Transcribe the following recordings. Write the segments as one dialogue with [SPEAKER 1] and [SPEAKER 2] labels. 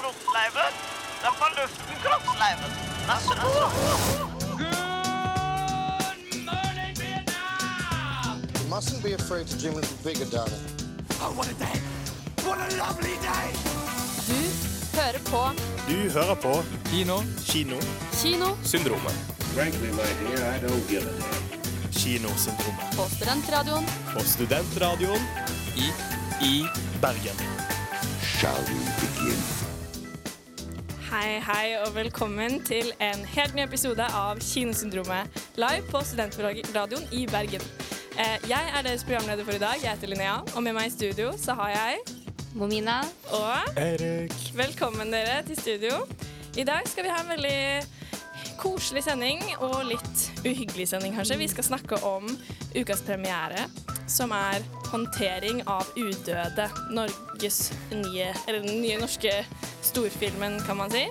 [SPEAKER 1] kroppsleiven. Den var luften, kroppsleiven. Nasje, nasje.
[SPEAKER 2] You mustn't be afraid to dream a little bigger, darling.
[SPEAKER 3] Du hører på
[SPEAKER 4] Du hører på Kino.
[SPEAKER 3] Kino
[SPEAKER 4] Kinosyndromet.
[SPEAKER 5] Frankly, my dear, I don't give a damn.
[SPEAKER 4] Kinosyndromet.
[SPEAKER 3] på Studentradioen.
[SPEAKER 4] På studentradioen i, i Bergen.
[SPEAKER 6] Hei, hei, og velkommen til en helt ny episode av Kinosyndromet, live på Studentradioen i Bergen. Eh, Jeg er deres programleder for i dag. Jeg heter Linnea, og med meg i studio så har jeg
[SPEAKER 3] Momina.
[SPEAKER 6] Og
[SPEAKER 4] Erik.
[SPEAKER 6] velkommen dere til studio. I dag skal vi ha en veldig koselig sending, og litt uhyggelig sending kanskje. Vi skal snakke om ukas premiere, som er håndtering av udøde. Norges nye, eller den nye norske storfilmen, kan man si.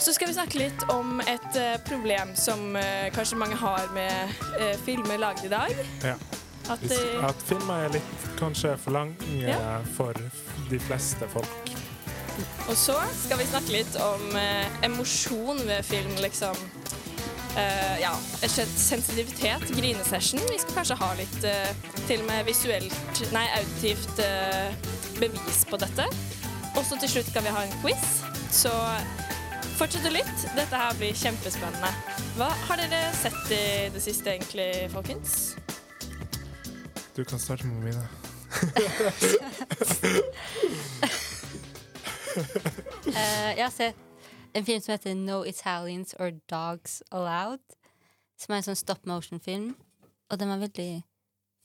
[SPEAKER 6] Så skal vi snakke litt om et eh, problem som eh, kanskje mange har med eh, filmer laget i dag.
[SPEAKER 7] Ja.
[SPEAKER 6] At, eh,
[SPEAKER 7] At filmen er litt kanskje for lang eh,
[SPEAKER 6] Ja.
[SPEAKER 7] for de fleste folk.
[SPEAKER 6] Og så skal vi snakke litt om eh, emosjon ved film, liksom. Eh, ja, rett og slett sensitivitet, grinesession. Vi skal kanskje ha litt eh, til og med visuelt, nei, auditivt eh, bevis på dette. Og så til slutt skal vi ha en quiz, så fortsett å lytte. Dette her blir kjempespennende. Hva har dere sett i det siste egentlig, folkens?
[SPEAKER 7] Du kan starte med mine.
[SPEAKER 3] Eh, jeg har sett en film som heter No Italians or Dogs Allowed. Som er en sånn stop motion-film. Og den var veldig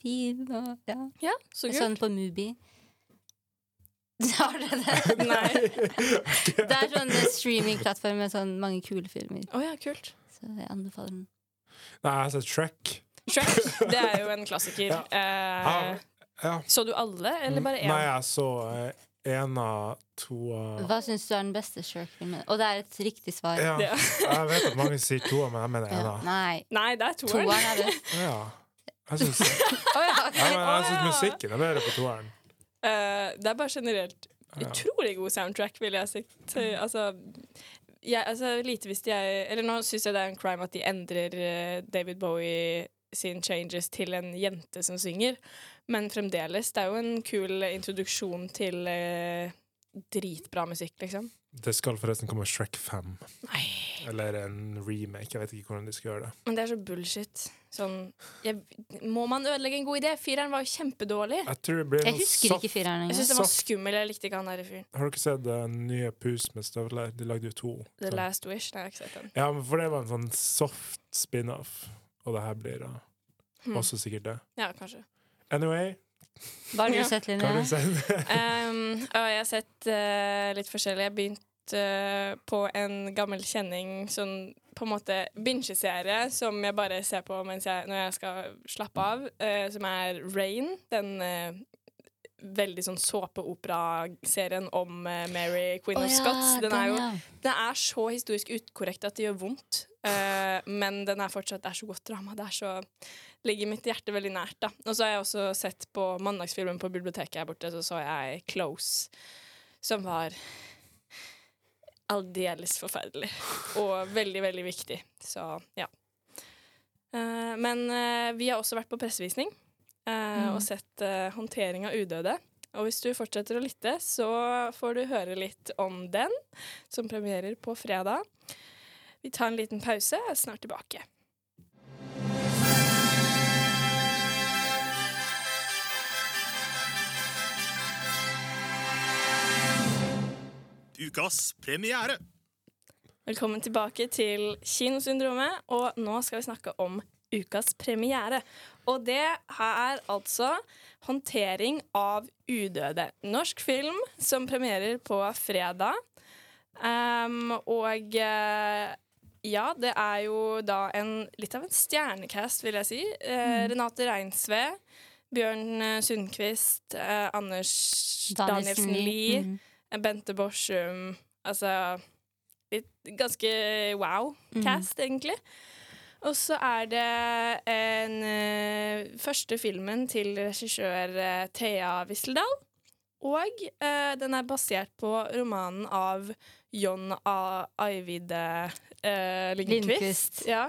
[SPEAKER 3] fin. Og, ja.
[SPEAKER 6] Ja, så
[SPEAKER 3] Jeg så den på Mubi. Har dere det?
[SPEAKER 6] Nei.
[SPEAKER 3] Det er sånn streamingplattform med sånn mange kule filmer.
[SPEAKER 6] Å ja, kult.
[SPEAKER 3] Så jeg anbefaler den.
[SPEAKER 7] Nei, jeg har sett Shrek.
[SPEAKER 6] Shrek, det er jo en klassiker. Eh,
[SPEAKER 7] Ja. Ja. Mm.
[SPEAKER 6] Så du alle, eller bare én?
[SPEAKER 7] Nei, jeg så eh, en av to av
[SPEAKER 3] Hva syns du er den beste Shrek-filmen? Og det er et riktig svar.
[SPEAKER 7] ja.
[SPEAKER 6] Ja.
[SPEAKER 7] Jeg vet at mange sier to, men jeg mener en
[SPEAKER 3] Ja.
[SPEAKER 7] av.
[SPEAKER 3] Nei,
[SPEAKER 6] Nei, det er toeren.
[SPEAKER 3] toeren er best.
[SPEAKER 7] Ja. Jeg syns ja,
[SPEAKER 3] Å ja, ok.
[SPEAKER 7] men jeg synes
[SPEAKER 6] Å, ja.
[SPEAKER 7] musikken er bedre på toeren.
[SPEAKER 6] Eh, det er bare generelt utrolig god soundtrack, ville jeg sagt. Eh, altså, jeg, altså lite visste jeg Eller nå syns jeg det er en crime at de endrer eh, David Bowie sin Changes til en jente som synger, men fremdeles. Det er jo en kul introduksjon til eh, dritbra musikk, liksom.
[SPEAKER 7] Det skal forresten komme Shrek 5,
[SPEAKER 6] Nei.
[SPEAKER 7] eller en remake. Jeg vet ikke hvordan de skal gjøre det.
[SPEAKER 6] Men det er så bullshit. Sånn jeg, Må man ødelegge en god idé? Fireren var jo kjempedårlig.
[SPEAKER 7] Jeg tror det blir
[SPEAKER 3] Jeg
[SPEAKER 7] noe
[SPEAKER 3] husker ikke
[SPEAKER 7] soft-
[SPEAKER 3] fireren
[SPEAKER 6] Jeg
[SPEAKER 3] engang.
[SPEAKER 6] syns den var
[SPEAKER 7] Soft.
[SPEAKER 6] skummel. Jeg likte ikke han derre fyren.
[SPEAKER 7] Har du ikke sett den nye Pus med støvler? De lagde jo to.
[SPEAKER 6] The
[SPEAKER 7] Så-
[SPEAKER 6] Last Wish. Nei, jeg har ikke sett den.
[SPEAKER 7] Ja, men for det var en sånn soft spin-off, og det her blir da
[SPEAKER 6] Hmm.
[SPEAKER 7] også sikkert det.
[SPEAKER 6] Ja, kanskje.
[SPEAKER 7] Anyway,
[SPEAKER 3] Hva har
[SPEAKER 6] Ja.
[SPEAKER 3] du sett,
[SPEAKER 7] kan
[SPEAKER 3] Linnea?
[SPEAKER 7] du si det?
[SPEAKER 6] Um, og jeg har sett eh, litt forskjellig. Jeg begynte eh, på en gammel kjenning, sånn på en måte bingeserie, som jeg bare ser på mens jeg, når jeg skal slappe av, eh, som er Rain. Den eh, veldig sånn såpeoperaserien om eh, Mary, Queen
[SPEAKER 3] Å
[SPEAKER 6] of
[SPEAKER 3] ja,
[SPEAKER 6] Scots. Den er jo
[SPEAKER 3] ja.
[SPEAKER 6] Den er så historisk utkorrekt at det gjør vondt. eh, men den er fortsatt det er så godt drama. Det er så, ligger mitt hjerte veldig nært. da. Og så har jeg også sett på mandagsfilmen på biblioteket her borte, så så jeg Close, som var aldeles forferdelig. Og veldig, veldig viktig. Så ja. Eh, men eh, vi har også vært på pressevisning eh, og sett eh, håndtering av udøde. Og hvis du fortsetter å lytte, så får du høre litt om den, som premierer på fredag. Vi tar en liten pause, er snart tilbake.
[SPEAKER 4] Ukas premiere.
[SPEAKER 6] Velkommen tilbake til Kinosyndromet, og nå skal vi snakke om ukas premiere. Og det her er altså 'Håndtering av udøde'. Norsk film som premierer på fredag. Ehm, og eh, ja, det er jo da en, litt av en stjernecast, vil jeg si. Eh, Renate Reinsve, Bjørn eh, Sundquist, eh, Anders Danielsen Lie. Mm. eh,
[SPEAKER 3] Mhm.
[SPEAKER 6] Bente Borsum Altså litt, Ganske wow cast, egentlig. Og så er det en eh, første filmen til regissør eh, Thea Wisseldal. Og eh, den er basert på romanen av John A. Ajvide eh, Lindqvist.
[SPEAKER 3] Lindqvist.
[SPEAKER 6] Ja.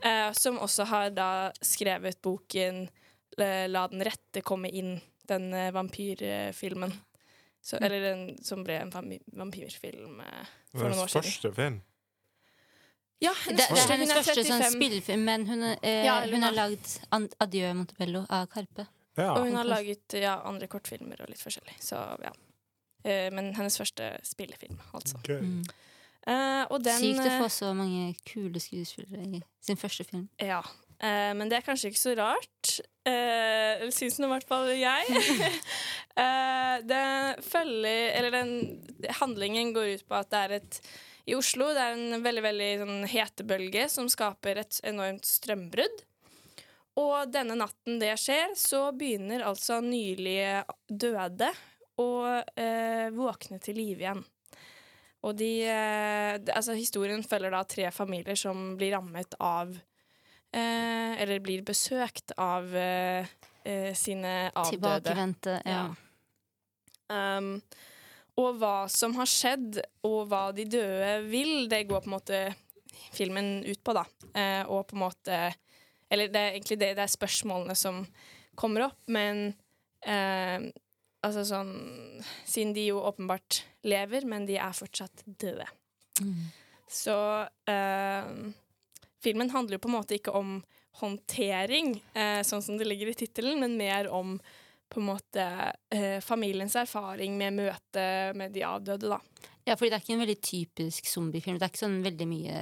[SPEAKER 6] Eh, som også har da skrevet boken eh, 'La den rette komme inn', den eh, vampyrfilmen. Så,
[SPEAKER 3] Mm.
[SPEAKER 6] eller den som ble en vampi- vampyrfilm eh, for noen år
[SPEAKER 7] Hennes
[SPEAKER 6] siden.
[SPEAKER 7] første film.
[SPEAKER 6] Ja,
[SPEAKER 3] Det,
[SPEAKER 6] hennes
[SPEAKER 3] det
[SPEAKER 6] første.
[SPEAKER 3] er hennes
[SPEAKER 6] Hun er
[SPEAKER 3] første sånn
[SPEAKER 6] 35,
[SPEAKER 3] spillefilm, men hun, er, eh,
[SPEAKER 6] Ja, eller
[SPEAKER 3] hun har
[SPEAKER 6] hun har-
[SPEAKER 3] lagd An- 'Adjø Montebello' av Karpe.
[SPEAKER 7] Ja.
[SPEAKER 6] og hun har
[SPEAKER 3] Fantastisk.
[SPEAKER 6] laget ja, andre kortfilmer og litt forskjellig. Så ja. Eh, men hennes første spillefilm, altså.
[SPEAKER 7] Gøy.
[SPEAKER 3] Mm.
[SPEAKER 6] Eh, og den
[SPEAKER 3] Sykt å
[SPEAKER 6] eh,
[SPEAKER 3] få så mange kule skuespillere i sin første film.
[SPEAKER 6] Ja, eh, men det er kanskje ikke så rart. Eh, eller syns nå i hvert fall jeg. eh, det følger Eller den handlingen går ut på at det er et I Oslo det er en veldig, veldig sånn hetebølge som skaper et enormt strømbrudd. Og denne natten det skjer, så begynner altså nylig døde å eh, våkne til live igjen. Og de, eh, det- altså historien følger da tre familier som blir rammet av eh, eller blir besøkt av eh, eh, sine avdøde.
[SPEAKER 3] Tilbakevendte. Ja.
[SPEAKER 6] Um, og hva som har skjedd, og hva de døde vil, det går på en måte filmen ut på, da. Eh, og på en måte Eller det er egentlig det, det er spørsmålene som kommer opp, men eh, Altså sånn Siden de jo åpenbart lever, men de er fortsatt døde.
[SPEAKER 3] Mm.
[SPEAKER 6] Så eh, filmen handler jo på en måte ikke om håndtering, eh, sånn som det ligger i tittelen, men mer om på en måte eh, familiens erfaring med møtet med de avdøde, da.
[SPEAKER 3] ja, fordi det er ikke en veldig typisk zombiefilm. Det er ikke sånn veldig mye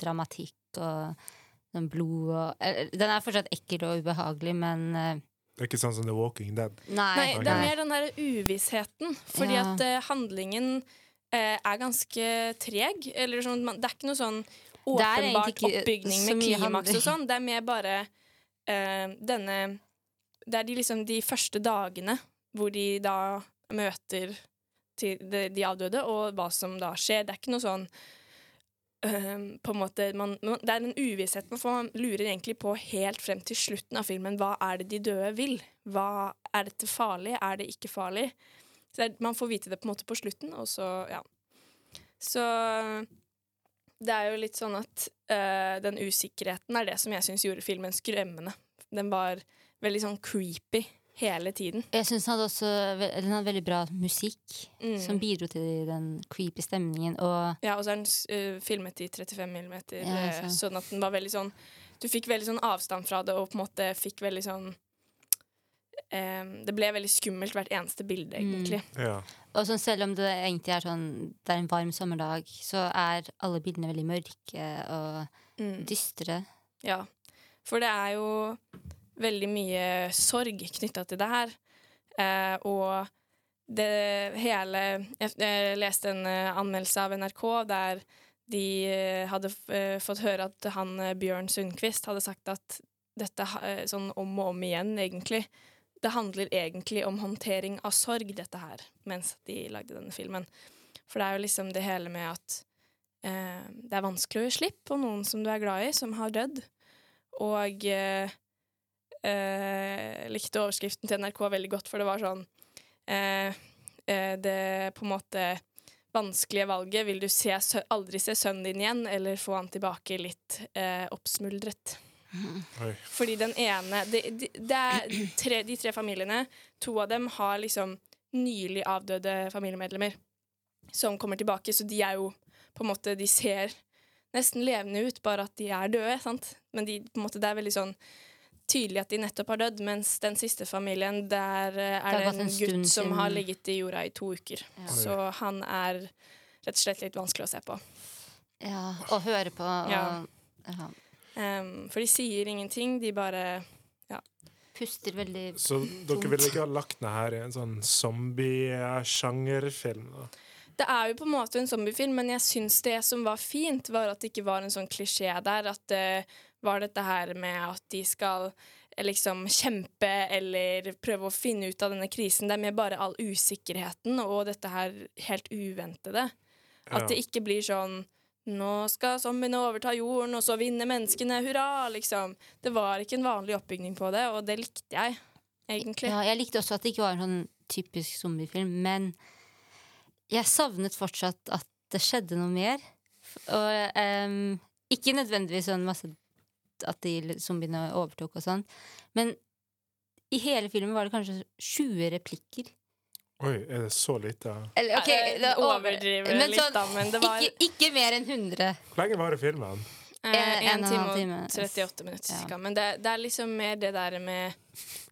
[SPEAKER 3] dramatikk og sånn blod og eh, Den er fortsatt ekkel og ubehagelig, men eh,
[SPEAKER 7] Det er ikke sånn som The Walking Dead.
[SPEAKER 3] Nei.
[SPEAKER 6] Nei, det er
[SPEAKER 7] Nei.
[SPEAKER 6] mer den der uvissheten, fordi
[SPEAKER 3] Ja.
[SPEAKER 6] at eh, handlingen eh, er ganske treg. Eller sånn, man, det er ikke noe sånn
[SPEAKER 3] Det er egentlig
[SPEAKER 6] åpenbart
[SPEAKER 3] ikke
[SPEAKER 6] oppbygning
[SPEAKER 3] så
[SPEAKER 6] med
[SPEAKER 3] mye
[SPEAKER 6] klimaks
[SPEAKER 3] handling.
[SPEAKER 6] og sånn. Det er mer bare eh, denne Det er de, liksom, de første dagene hvor de da møter til de, de avdøde, og hva som da skjer. Det er ikke noe sånn eh, på en måte, man, man, Det er en uvisshet man får. Man lurer egentlig på helt frem til slutten av filmen hva er det de døde vil? Hva, er dette farlig? Er det ikke farlig? Så det er, man får vite det på en måte på slutten, og så ja. Så det er jo litt sånn at eh, den usikkerheten er det som jeg syns gjorde filmen skremmende. Den var veldig sånn creepy hele tiden.
[SPEAKER 3] Jeg syns den hadde også ve- den hadde veldig bra musikk,
[SPEAKER 6] Mm.
[SPEAKER 3] som bidro til den creepy stemningen. Og
[SPEAKER 6] Ja, og så er den s- eh, filmet i 35 millimeter,
[SPEAKER 3] Ja, jeg
[SPEAKER 6] eh,
[SPEAKER 3] ser.
[SPEAKER 6] sånn at den var veldig sånn Du fikk veldig sånn avstand fra det, og på en måte fikk veldig sånn eh, Det ble veldig skummelt hvert eneste bilde,
[SPEAKER 3] Mm.
[SPEAKER 6] egentlig.
[SPEAKER 7] Ja.
[SPEAKER 3] Og sånn, selv om det egentlig er sånn Det er en varm sommerdag, så er alle bildene veldig mørke og
[SPEAKER 6] Mm.
[SPEAKER 3] dystre.
[SPEAKER 6] Ja. For det er jo veldig mye sorg knytta til det her. Eh, og det hele Jeg, jeg leste en eh, anmeldelse av NRK der de eh, hadde f- eh, fått høre at han eh, Bjørn Sundquist hadde sagt at dette ha- eh, sånn om og om igjen, egentlig. Det handler egentlig om håndtering av sorg, dette her, mens de lagde denne filmen. For det er jo liksom det hele med at eh, det er vanskelig å gi slipp på noen som du er glad i, som har dødd. Og eh, eh, likte overskriften til NRK veldig godt, for det var sånn eh, eh, Det på en måte vanskelige valget Vil du se, sø- aldri se sønnen din igjen, eller få han tilbake litt eh, oppsmuldret?
[SPEAKER 7] Oi.
[SPEAKER 6] Fordi den ene Det, det, det er tre, de tre familiene. To av dem har liksom nylig avdøde familiemedlemmer som kommer tilbake, så de er jo på en måte De ser nesten levende ut, bare at de er døde, sant? Men de, på en måte, det er veldig sånn tydelig at de nettopp har dødd, mens den siste familien, der eh, er det
[SPEAKER 3] gått
[SPEAKER 6] en,
[SPEAKER 3] en
[SPEAKER 6] gutt
[SPEAKER 3] stund
[SPEAKER 6] som
[SPEAKER 3] siden-
[SPEAKER 6] har ligget i jorda i to uker.
[SPEAKER 3] Ja.
[SPEAKER 6] Så han er rett og slett litt vanskelig å se på.
[SPEAKER 3] Ja, og høre på. Og,
[SPEAKER 6] Ja.
[SPEAKER 3] ja,
[SPEAKER 6] Em, Ehm, for de sier ingenting, de bare
[SPEAKER 3] puster veldig
[SPEAKER 7] Så dere ville ikke ha lagt ned her i en sånn zombie-sjangerfilm? da?
[SPEAKER 6] Det er jo på en måte en zombiefilm, men jeg syns det som var fint, var at det ikke var en sånn klisjé der. At det var dette her med at de skal eh, liksom kjempe eller prøve å finne ut av denne krisen. Det er mer bare all usikkerheten og dette her helt uventede. At
[SPEAKER 7] Ja.
[SPEAKER 6] det ikke blir sånn nå skal zombiene overta jorden, og så vinne menneskene, hurra! liksom. Det var ikke en vanlig oppbygning på det, og det likte jeg, egentlig.
[SPEAKER 3] Ja, jeg likte også at det ikke var en sånn typisk zombiefilm, men jeg savnet fortsatt at det skjedde noe mer. F- Og ehm, ikke nødvendigvis sånn masse at de zombiene overtok og sånn, men i hele filmen var det kanskje 20 replikker.
[SPEAKER 7] Oi, er det så lite?
[SPEAKER 3] Eller, ok,
[SPEAKER 6] Ja, det
[SPEAKER 3] det er over-
[SPEAKER 6] overdriver
[SPEAKER 3] men
[SPEAKER 6] litt,
[SPEAKER 3] sånn,
[SPEAKER 6] da, men det var-
[SPEAKER 3] ikke, ikke mer enn 100.
[SPEAKER 7] Hvor lenge varer filmen?
[SPEAKER 3] Eh,
[SPEAKER 6] Eh,
[SPEAKER 3] en
[SPEAKER 6] en
[SPEAKER 3] og en halv
[SPEAKER 6] time
[SPEAKER 3] time.
[SPEAKER 6] og 38 minutter
[SPEAKER 3] Ja.
[SPEAKER 6] cirka. Men det, det er liksom mer det der med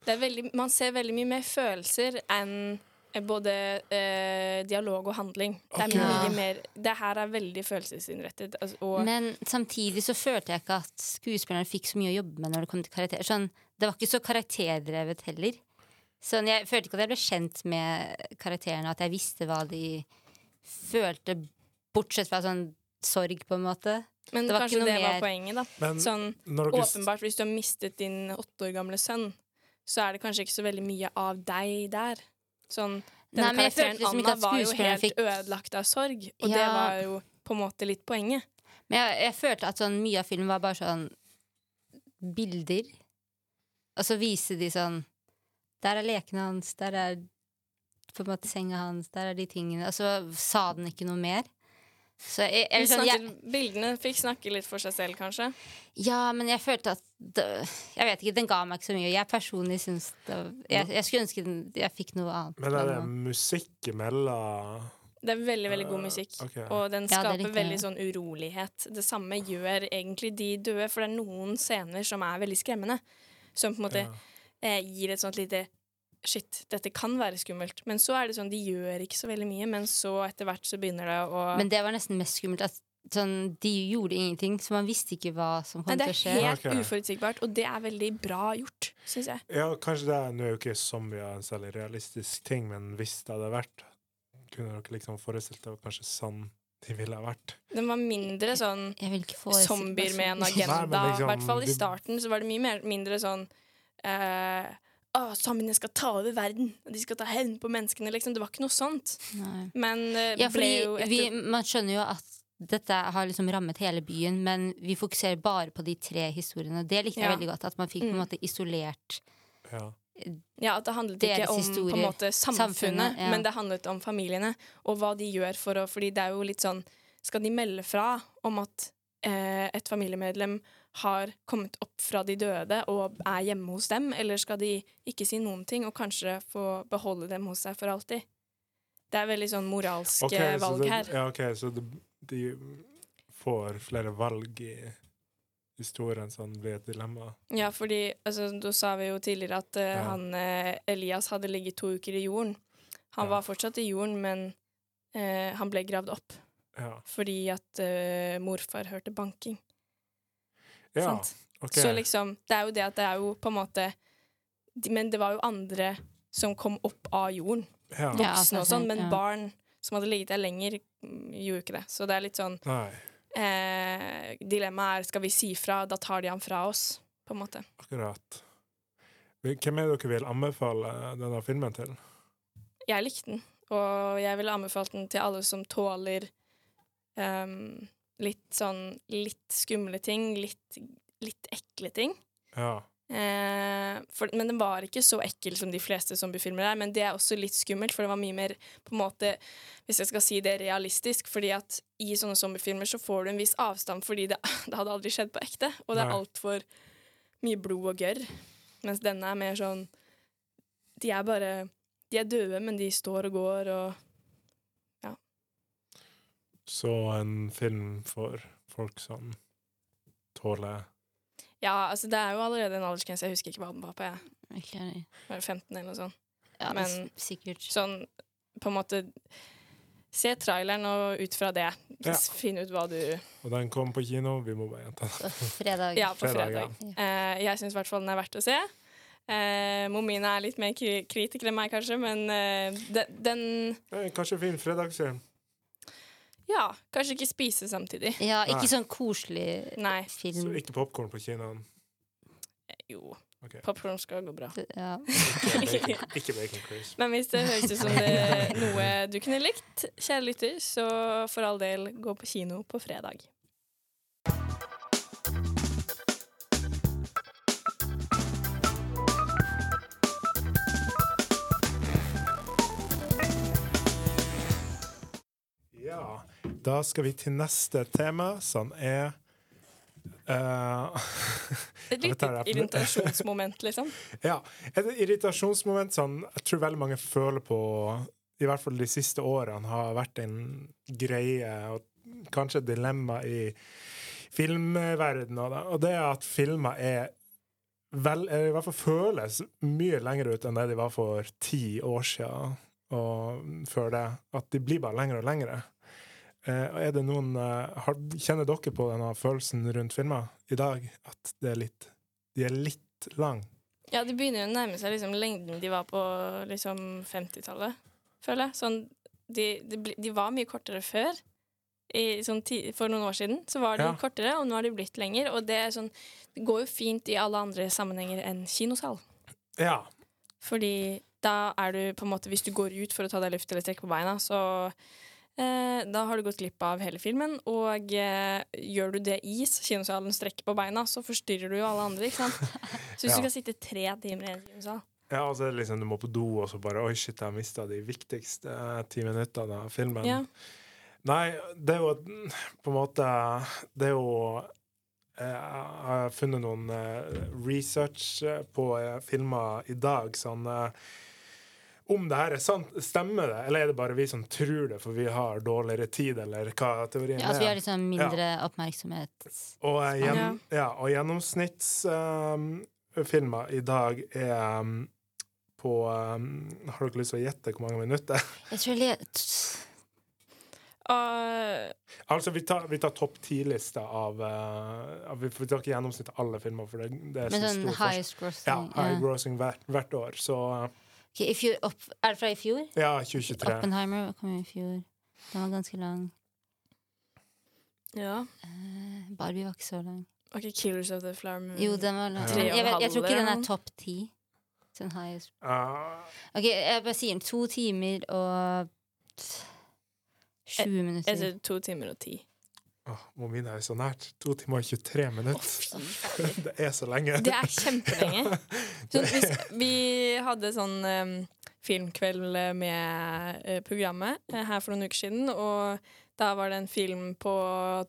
[SPEAKER 6] det er veldig, Man ser veldig mye mer følelser enn eh, både eh, dialog og handling. Det, er
[SPEAKER 7] Ok.
[SPEAKER 3] Ja.
[SPEAKER 6] mye mer, det her er veldig følelsesinnrettet. altså, Og
[SPEAKER 3] Men samtidig så følte jeg ikke at skuespillerne fikk så mye å jobbe med når det kom til karakter. Sånn, det var ikke så karakterdrevet heller. Sånn, jeg følte ikke at jeg ble kjent med karakterene, at jeg visste hva de følte, bortsett fra sånn sorg, på en måte.
[SPEAKER 6] Men
[SPEAKER 3] Det var
[SPEAKER 6] kanskje
[SPEAKER 3] ikke noe
[SPEAKER 6] det var
[SPEAKER 3] mer.
[SPEAKER 6] poenget, da.
[SPEAKER 7] Men
[SPEAKER 6] sånn
[SPEAKER 7] når dere s-
[SPEAKER 6] åpenbart, hvis du har mistet din åtte år gamle sønn, så er det kanskje ikke så veldig mye av deg der. Sånn, denne
[SPEAKER 3] Nei, men jeg
[SPEAKER 6] karakteren
[SPEAKER 3] følte liksom ikke
[SPEAKER 6] Anna
[SPEAKER 3] at
[SPEAKER 6] var jo
[SPEAKER 3] skuespilleren
[SPEAKER 6] helt
[SPEAKER 3] fikk-
[SPEAKER 6] ødelagt av sorg, og det
[SPEAKER 3] Ja.
[SPEAKER 6] var jo på en måte litt poenget.
[SPEAKER 3] Men jeg, jeg følte at sånn, mye av filmen var bare sånn bilder. Og så viser de sånn Der er lekene hans, der er på en måte senga hans, der er de tingene. Og så sa den ikke noe mer. Så jeg,
[SPEAKER 6] Vi
[SPEAKER 3] eller sånn, jeg,
[SPEAKER 6] snakket- Bildene fikk snakke litt for seg selv, kanskje.
[SPEAKER 3] Ja, men jeg følte at det, Jeg vet ikke, den ga meg ikke så mye. Jeg personlig syns det jeg, jeg skulle ønske den, jeg fikk noe annet.
[SPEAKER 7] Men er det
[SPEAKER 3] enn-
[SPEAKER 7] musikk imellom?
[SPEAKER 6] Det er veldig veldig god
[SPEAKER 7] Eh,
[SPEAKER 6] musikk,
[SPEAKER 7] ok.
[SPEAKER 6] og den
[SPEAKER 3] Ja, det
[SPEAKER 6] skaper
[SPEAKER 3] likte jeg.
[SPEAKER 6] veldig sånn urolighet. Det samme gjør egentlig de døde, for det er noen scener som er veldig skremmende. Som på en måte
[SPEAKER 7] Ja.
[SPEAKER 6] eh, gir et sånt lite Shit, dette kan være skummelt. Men så er det sånn, de gjør ikke så veldig mye, men så etter hvert så begynner det å
[SPEAKER 3] Men det var nesten mest skummelt. At, sånn, de gjorde ingenting, så man visste ikke hva som
[SPEAKER 6] Nei,
[SPEAKER 3] kom til
[SPEAKER 6] det
[SPEAKER 3] å skje.
[SPEAKER 6] er helt
[SPEAKER 7] Ok.
[SPEAKER 6] uforutsigbart, og det er veldig bra gjort, syns jeg.
[SPEAKER 7] Ja, kanskje det er- Nå er jo ikke zombier en særlig realistisk ting, men hvis det hadde vært, kunne dere liksom forestilt dere kanskje sånn de ville ha vært?
[SPEAKER 6] Den var mindre sånn
[SPEAKER 3] Jeg vil ikke få
[SPEAKER 6] zombier med en
[SPEAKER 7] Nei, men
[SPEAKER 6] agenda. I
[SPEAKER 7] liksom,
[SPEAKER 6] hvert fall i
[SPEAKER 7] de-
[SPEAKER 6] starten så var det mye mer, mindre sånn eh, Å, zombiene skal ta over verden! og De skal ta hevn på menneskene! liksom. Det var ikke noe sånt.
[SPEAKER 3] Nei.
[SPEAKER 6] Men eh,
[SPEAKER 3] Ja,
[SPEAKER 6] ble
[SPEAKER 3] fordi
[SPEAKER 6] jo etter,
[SPEAKER 3] vi, man skjønner jo at dette har liksom rammet hele byen, men vi fokuserer bare på de tre historiene. Det likte jeg
[SPEAKER 6] Ja.
[SPEAKER 3] veldig godt, at man fikk på en
[SPEAKER 6] Mm.
[SPEAKER 3] måte isolert
[SPEAKER 7] Ja.
[SPEAKER 6] ja, at Det handlet
[SPEAKER 3] deres
[SPEAKER 6] ikke om på en
[SPEAKER 3] historier,
[SPEAKER 6] måte samfunnet,
[SPEAKER 3] samfunnet, ja.
[SPEAKER 6] men det handlet om familiene og hva de gjør for å Fordi det er jo litt sånn Skal de melde fra om at eh, et familiemedlem har kommet opp fra de døde og er hjemme hos dem, eller skal de ikke si noen ting og kanskje få beholde dem hos seg for alltid? Det er veldig sånn moralske
[SPEAKER 7] Ok, så
[SPEAKER 6] valg
[SPEAKER 7] det-
[SPEAKER 6] her.
[SPEAKER 7] Ja, ok, så det, de får flere valg i historien, så det blir et dilemma.
[SPEAKER 6] Ja, fordi altså, da sa vi jo tidligere at eh,
[SPEAKER 7] Ja.
[SPEAKER 6] han eh, Elias hadde ligget to uker i jorden. Han
[SPEAKER 7] Ja.
[SPEAKER 6] var fortsatt i jorden, men eh, han ble gravd opp
[SPEAKER 7] Ja.
[SPEAKER 6] fordi at eh, morfar hørte banking.
[SPEAKER 7] ja
[SPEAKER 6] sant?
[SPEAKER 7] ok.
[SPEAKER 6] Så liksom, det er jo det at det er jo på en måte de- Men det var jo andre som kom opp av jorden,
[SPEAKER 7] ja.
[SPEAKER 3] Ja.
[SPEAKER 6] voksne og
[SPEAKER 3] altså,
[SPEAKER 6] sånn, men
[SPEAKER 3] ja.
[SPEAKER 6] barn som hadde ligget der lenger, mm, gjorde ikke det. Så det er litt sånn
[SPEAKER 7] Nei,
[SPEAKER 6] eh, Dilemmaet er skal vi si fra, da tar de han fra oss, på en måte.
[SPEAKER 7] akkurat. Hvem er det dere vil anbefale denne filmen til?
[SPEAKER 6] Jeg likte den, og jeg ville anbefalt den til alle som tåler ehm, litt sånn litt skumle ting, litt, litt ekle ting.
[SPEAKER 7] Ja.
[SPEAKER 6] Eh, for, men den var ikke så ekkel som de fleste zombiefilmer er, men det er også litt skummelt, for det var mye mer på en måte, hvis jeg skal si det, realistisk. fordi at i sånne zombiefilmer så får du en viss avstand, fordi det, det hadde aldri skjedd på ekte. Og det er
[SPEAKER 7] Nei.
[SPEAKER 6] altfor mye blod og gørr. Mens denne er mer sånn De er bare De er døde, men de står og går og
[SPEAKER 7] Så en film for folk som tåler
[SPEAKER 6] Ja, altså, det er jo allerede en aldersgrense. Jeg husker ikke hva den var på, jeg.
[SPEAKER 3] Ok, ja,
[SPEAKER 6] Var det 15 eller noe sånt?
[SPEAKER 3] men,
[SPEAKER 6] Men-
[SPEAKER 3] s- sikkert.
[SPEAKER 6] sånn på en måte Se traileren, og ut fra det
[SPEAKER 7] Ja.
[SPEAKER 6] finn ut hva du
[SPEAKER 7] Og den kom på kino, vi må bare gjenta den.
[SPEAKER 3] Og fredag.
[SPEAKER 6] Ja, på
[SPEAKER 7] Fredag,
[SPEAKER 6] fredag. Eh, jeg syns i hvert fall den er verdt å se. Eh, Momina er litt mer kri- kritiker enn meg, kanskje, men eh, de, den
[SPEAKER 7] Eh, Kanskje en fin fredagsfilm.
[SPEAKER 6] Ja, kanskje ikke spise samtidig.
[SPEAKER 3] Ja, ikke
[SPEAKER 7] Nei.
[SPEAKER 3] sånn koselig
[SPEAKER 6] Nei.
[SPEAKER 7] Så
[SPEAKER 3] film.
[SPEAKER 7] ikke popkorn på kinoen.
[SPEAKER 6] Jo.
[SPEAKER 7] Ok.
[SPEAKER 6] Popkorn skal gå bra.
[SPEAKER 3] Ja.
[SPEAKER 7] Ikke bacon, ikke bacon Crisp.
[SPEAKER 6] Men hvis det høres ut som det er noe du kunne likt, kjære lytter, så for all del, gå på kino på fredag.
[SPEAKER 7] Ja. Da skal vi til neste tema, som er eh,
[SPEAKER 6] Et
[SPEAKER 7] Jeg tar det
[SPEAKER 6] lite
[SPEAKER 7] her for-
[SPEAKER 6] irritasjonsmoment, liksom.
[SPEAKER 7] Ja. Et irritasjonsmoment som jeg tror veldig mange føler på, i hvert fall de siste årene, har vært en greie og kanskje et dilemma i filmverdenen. Og det- og det er at filmer er vel, eller i hvert fall føles mye lenger ut enn det de var for ti år siden og før det. At de blir bare lengre og lengre. Eh, og er det noen, eh, har, kjenner dere på denne følelsen rundt filmer i dag? At det er litt, de er litt lang?
[SPEAKER 6] Ja, de begynner jo å nærme seg liksom lengden de var på liksom 50-tallet, føler jeg. Sånn, de, de, bli- de var mye kortere før. I, sånn ti, for noen år siden så var de
[SPEAKER 7] Ja.
[SPEAKER 6] kortere, og nå har de blitt lenger. Og det, er sånn, det går jo fint i alle andre sammenhenger enn kinosal.
[SPEAKER 7] Ja.
[SPEAKER 6] Fordi da er du på en måte Hvis du går ut for å ta deg luft eller strekke på beina, så eh, da har du gått glipp av hele filmen. Og eh, gjør du det i kinosalen, strekker på beina, så forstyrrer du jo alle andre. ikke sant? Så hvis
[SPEAKER 7] Ja.
[SPEAKER 6] du skal sitte tre timer i en kinosal
[SPEAKER 7] Ja, og så er det liksom du må på do, og så bare Oi, shit, jeg mista de viktigste eh, ti minuttene av filmen.
[SPEAKER 6] Ja.
[SPEAKER 7] Nei, det er jo mm, på en måte Det er jo eh, Jeg har funnet noen eh, research eh, på eh, filmer i dag sånn eh, om det her er sant, stemmer det, eller er det bare vi som tror det, for vi har dårligere tid, eller hva teorien
[SPEAKER 3] Ja, at vi
[SPEAKER 7] er?
[SPEAKER 3] har liksom mindre oppmerksomhet.
[SPEAKER 7] Og, eh, gjen, ja, og gjennomsnittsfilmer eh, i dag er ehm, på ehm, Har dere lyst til å gjette hvor mange minutter?
[SPEAKER 3] Jeg tror jeg le-
[SPEAKER 6] Og
[SPEAKER 7] altså, vi tar, vi tar topp ti-lista av eh, av- Vi vi tar ikke gjennomsnitt av alle filmer, for det, det er
[SPEAKER 3] Men
[SPEAKER 7] så
[SPEAKER 3] sånn
[SPEAKER 7] stor forskjell.
[SPEAKER 3] highest
[SPEAKER 7] Ja,
[SPEAKER 3] grossing
[SPEAKER 7] high
[SPEAKER 3] ja.
[SPEAKER 7] grossing hvert, hvert år. Så eh,
[SPEAKER 3] Ok, i fjor, opp, Er det fra i fjor?
[SPEAKER 7] ja, 2023.
[SPEAKER 3] Oppenheimer kom jo i fjor. Den var ganske lang.
[SPEAKER 6] ja.
[SPEAKER 3] Eh, Barbie var ikke så lang.
[SPEAKER 6] OK, 'Killers of the Flower Moon'.
[SPEAKER 3] Jo, den var lang.
[SPEAKER 7] Tre
[SPEAKER 3] Men
[SPEAKER 6] og
[SPEAKER 3] Jeg, vet, jeg tror ikke
[SPEAKER 6] halve.
[SPEAKER 3] den er topp ti. Sånn highest
[SPEAKER 7] Ja,
[SPEAKER 3] Ok, jeg bare sier to timer og sju
[SPEAKER 6] Jeg
[SPEAKER 3] minutter.
[SPEAKER 6] sier to timer og ti.
[SPEAKER 7] åh, mobilen er jo så nært. To timer og 23 minutter. det er så lenge.
[SPEAKER 6] Det er kjempelenge. Sånn, hvis vi hadde sånn em, filmkveld med eh, programmet eh, her for noen uker siden, og da var det en film på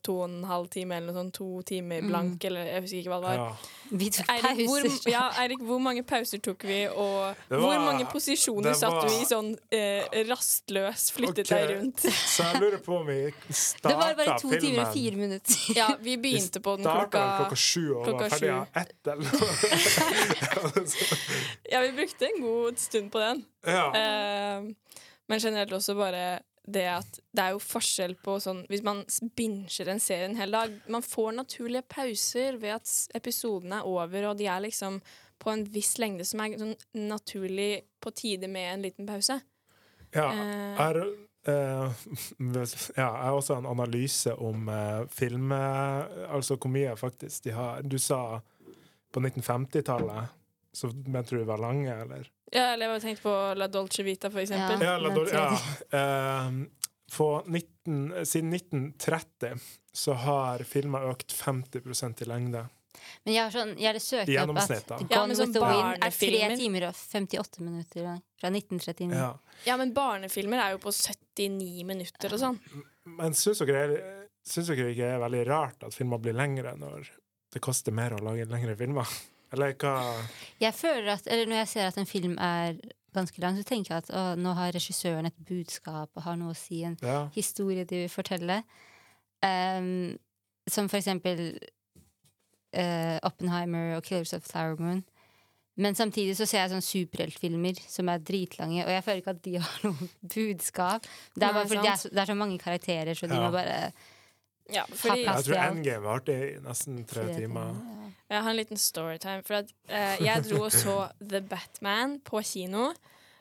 [SPEAKER 6] to og en halv time eller noe sånn to timer blank, eller jeg husker ikke hva det var.
[SPEAKER 7] Ja.
[SPEAKER 3] Vi tok
[SPEAKER 6] Eirik hvor,
[SPEAKER 3] Mm. pauser.
[SPEAKER 6] ja, Eirik, hvor mange pauser tok vi, og
[SPEAKER 7] Det
[SPEAKER 6] hvor
[SPEAKER 7] var-
[SPEAKER 6] mange posisjoner
[SPEAKER 7] det
[SPEAKER 6] satt du
[SPEAKER 7] var-
[SPEAKER 6] i sånn eh, rastløs, flyttet
[SPEAKER 7] Ok.
[SPEAKER 6] deg rundt?
[SPEAKER 7] Så jeg lurer på om vi starta
[SPEAKER 3] Det
[SPEAKER 7] filmen
[SPEAKER 3] var bare to timer og fire minutter.
[SPEAKER 6] Ja, vi begynte på den
[SPEAKER 7] starta
[SPEAKER 6] klokka,
[SPEAKER 7] vel klokka sju og var
[SPEAKER 6] klokka
[SPEAKER 7] ferdig
[SPEAKER 6] sju.
[SPEAKER 7] av ett eller noe.
[SPEAKER 6] Ja, vi brukte en god stund på den.
[SPEAKER 7] ja.
[SPEAKER 6] Eh, men generelt også bare det at det er jo forskjell på sånn Hvis man s- binger en serie en hel dag Man får naturlige pauser ved at s- episodene er over, og de er liksom på en viss lengde som er sånn naturlig på tide med en liten pause.
[SPEAKER 7] ja.
[SPEAKER 6] Eh,
[SPEAKER 7] Er, eh, ja, jeg har også en analyse om eh, film, eh, altså hvor mye faktisk de har. Du sa på 1950-tallet, så mente du de var lange, eller?
[SPEAKER 6] ja, eller jeg bare tenkte på La Dolce Vita, for eksempel.
[SPEAKER 3] Ja,
[SPEAKER 7] Ja, eller,
[SPEAKER 3] den
[SPEAKER 7] dårlig- ja.
[SPEAKER 3] tredje.
[SPEAKER 7] Eh, på 19, siden 1930 så har filmer økt 50 i lengde.
[SPEAKER 3] Men jeg har sånn, jeg har søkt opp
[SPEAKER 7] I
[SPEAKER 3] at
[SPEAKER 7] gjennomsnitt, da.
[SPEAKER 6] Ja,
[SPEAKER 3] Gone
[SPEAKER 6] men
[SPEAKER 3] with
[SPEAKER 6] sånn
[SPEAKER 3] the Wind er tre
[SPEAKER 6] barnefilmer.
[SPEAKER 3] timer og 58 minutter lang. Fra
[SPEAKER 6] Mm.
[SPEAKER 3] 1939.
[SPEAKER 7] Ja.
[SPEAKER 6] Ja, men barnefilmer er jo på 79 minutter og sånn.
[SPEAKER 7] Men syns dere, syns dere ikke det er veldig rart at filmer blir lengre når det koster mer å lage lengre filmer? Eller hva
[SPEAKER 3] Jeg føler at, eller Når jeg ser at en film er ganske lang, så tenker jeg at å, nå har regissøren et budskap og har noe å si. En
[SPEAKER 7] Ja.
[SPEAKER 3] historie de vil fortelle. Ehm, som for eksempel eh, Oppenheimer og Killers of Flower Moon. Men samtidig så ser jeg sånn superheltfilmer som er dritlange, og jeg føler ikke at de har noe budskap. Det er
[SPEAKER 6] Nei,
[SPEAKER 3] bare fordi det er så, det er så mange karakterer, så de
[SPEAKER 7] Ja.
[SPEAKER 3] må bare
[SPEAKER 6] Ja, fordi
[SPEAKER 3] plass.
[SPEAKER 7] Jeg tror
[SPEAKER 3] Ja.
[SPEAKER 7] Endgame varte i nesten tre timer.
[SPEAKER 6] Jeg har en liten storytime. For at, eh, jeg dro og så The Batman på kino.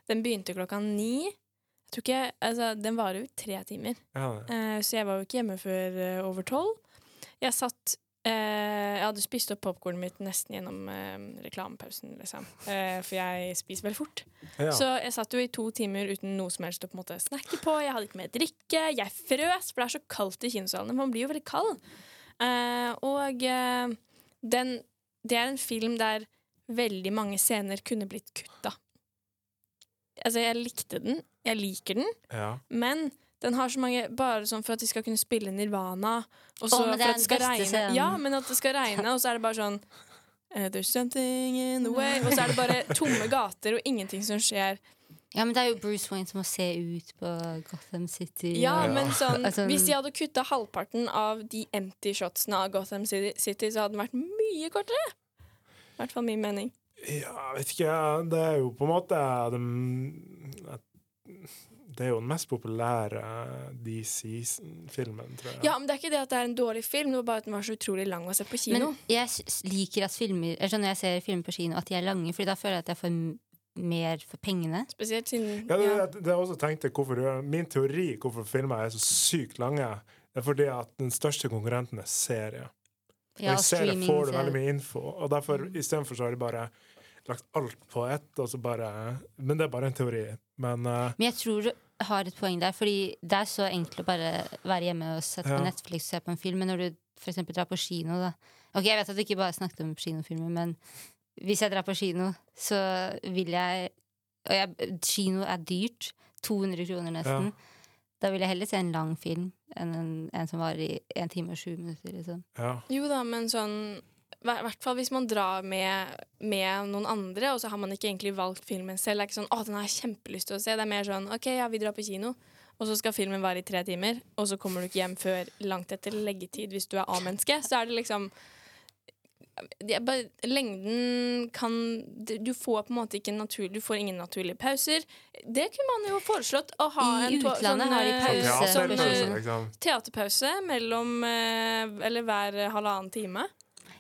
[SPEAKER 6] Den begynte klokka ni. Jeg tror ikke, altså, den varer jo tre timer,
[SPEAKER 7] Ja.
[SPEAKER 6] Eh, så jeg var jo ikke hjemme før eh, over tolv. Jeg satt eh, Jeg hadde spist opp popkornet mitt nesten gjennom eh, reklamepausen, liksom. Eh, for jeg spiser veldig fort.
[SPEAKER 7] Ja.
[SPEAKER 6] Så jeg satt jo i to timer uten noe som helst å på en måte snakke på. Jeg hadde ikke med drikke. Jeg frøs, for det er så kaldt i kinosalene. Man blir jo veldig kald. Eh, og eh, den, det er en film der veldig mange scener kunne blitt kutta. Altså, jeg likte den. Jeg liker den.
[SPEAKER 7] ja.
[SPEAKER 6] Men Den har så mange Bare sånn for at de skal kunne spille Nirvana. Og så
[SPEAKER 3] Å, men
[SPEAKER 6] for
[SPEAKER 3] det er
[SPEAKER 6] at det
[SPEAKER 3] den
[SPEAKER 6] skal
[SPEAKER 3] beste
[SPEAKER 6] regne.
[SPEAKER 3] scenen.
[SPEAKER 6] Ja, men at det skal regne, og så er det bare sånn eh, There's something in the way. Og så er det bare tomme gater og ingenting som skjer.
[SPEAKER 3] Ja, men det er jo Bruce Wayne som må se ut på Gotham City.
[SPEAKER 6] Ja,
[SPEAKER 3] og-
[SPEAKER 6] men sånn
[SPEAKER 3] Altså,
[SPEAKER 6] Hvis de hadde kutta halvparten av de empty shotsene av Gotham City, City, så hadde den vært mye kortere. I hvert fall min mening.
[SPEAKER 7] Ja, jeg vet ikke. Det er jo på en måte de, Det er jo den mest populære DC-filmen, tror jeg.
[SPEAKER 6] Ja, men Det er ikke det at det er en dårlig film, det var bare at den var så utrolig lang å se på kino.
[SPEAKER 3] Men jeg s- liker at filmer eller sånn, når jeg ser filmer på kino, at de er lange, Fordi da føler jeg at jeg får m- mer for pengene.
[SPEAKER 6] Spesielt siden
[SPEAKER 7] Ja, det,
[SPEAKER 6] ja.
[SPEAKER 7] det, det jeg også tenkte hvorfor du, gjør- Min teori hvorfor filmer er så sykt lange, det er fordi at den største konkurrenten er serie. Og
[SPEAKER 3] Ja,
[SPEAKER 7] I serie får du
[SPEAKER 3] streaming- Mm.
[SPEAKER 7] veldig mye info, og derfor istedenfor så har de bare lagt alt på ett, og så bare Men det er bare en teori. Men eh,
[SPEAKER 3] Men jeg tror du har et poeng der, Fordi det er så enkelt å bare være hjemme og sette
[SPEAKER 7] Ja.
[SPEAKER 3] på Netflix og se på en film. Men når du for eksempel drar på kino, da Ok, jeg vet at vi ikke bare snakket om kinofilmer, men hvis jeg drar på kino, så vil jeg Og jeg, kino er dyrt. 200 kroner nesten. Da vil jeg heller se en lang film enn en, en som varer i 1 time og 7 minutter. Liksom.
[SPEAKER 7] ja.
[SPEAKER 6] Jo da, men sånn i hvert fall hvis man drar med, med noen andre, og så har man ikke egentlig valgt filmen selv. Det er ikke sånn 'Å, den har jeg kjempelyst til å se'. Det er mer sånn 'OK, ja, vi drar på kino', og så skal filmen vare i tre timer, og så kommer du ikke hjem før langt etter leggetid hvis du er A-menneske. Så er det liksom det er bare, Lengden kan Du får på en måte ikke en natur, Du får ingen naturlige pauser. Det kunne man jo foreslått å ha
[SPEAKER 3] I
[SPEAKER 6] en to-
[SPEAKER 3] utlandet har de
[SPEAKER 6] eh,
[SPEAKER 3] pauser.
[SPEAKER 7] ja
[SPEAKER 3] Som,
[SPEAKER 7] det er pause,
[SPEAKER 6] eh,
[SPEAKER 7] liksom.
[SPEAKER 6] teaterpause mellom eh, Eller hver halvannen time.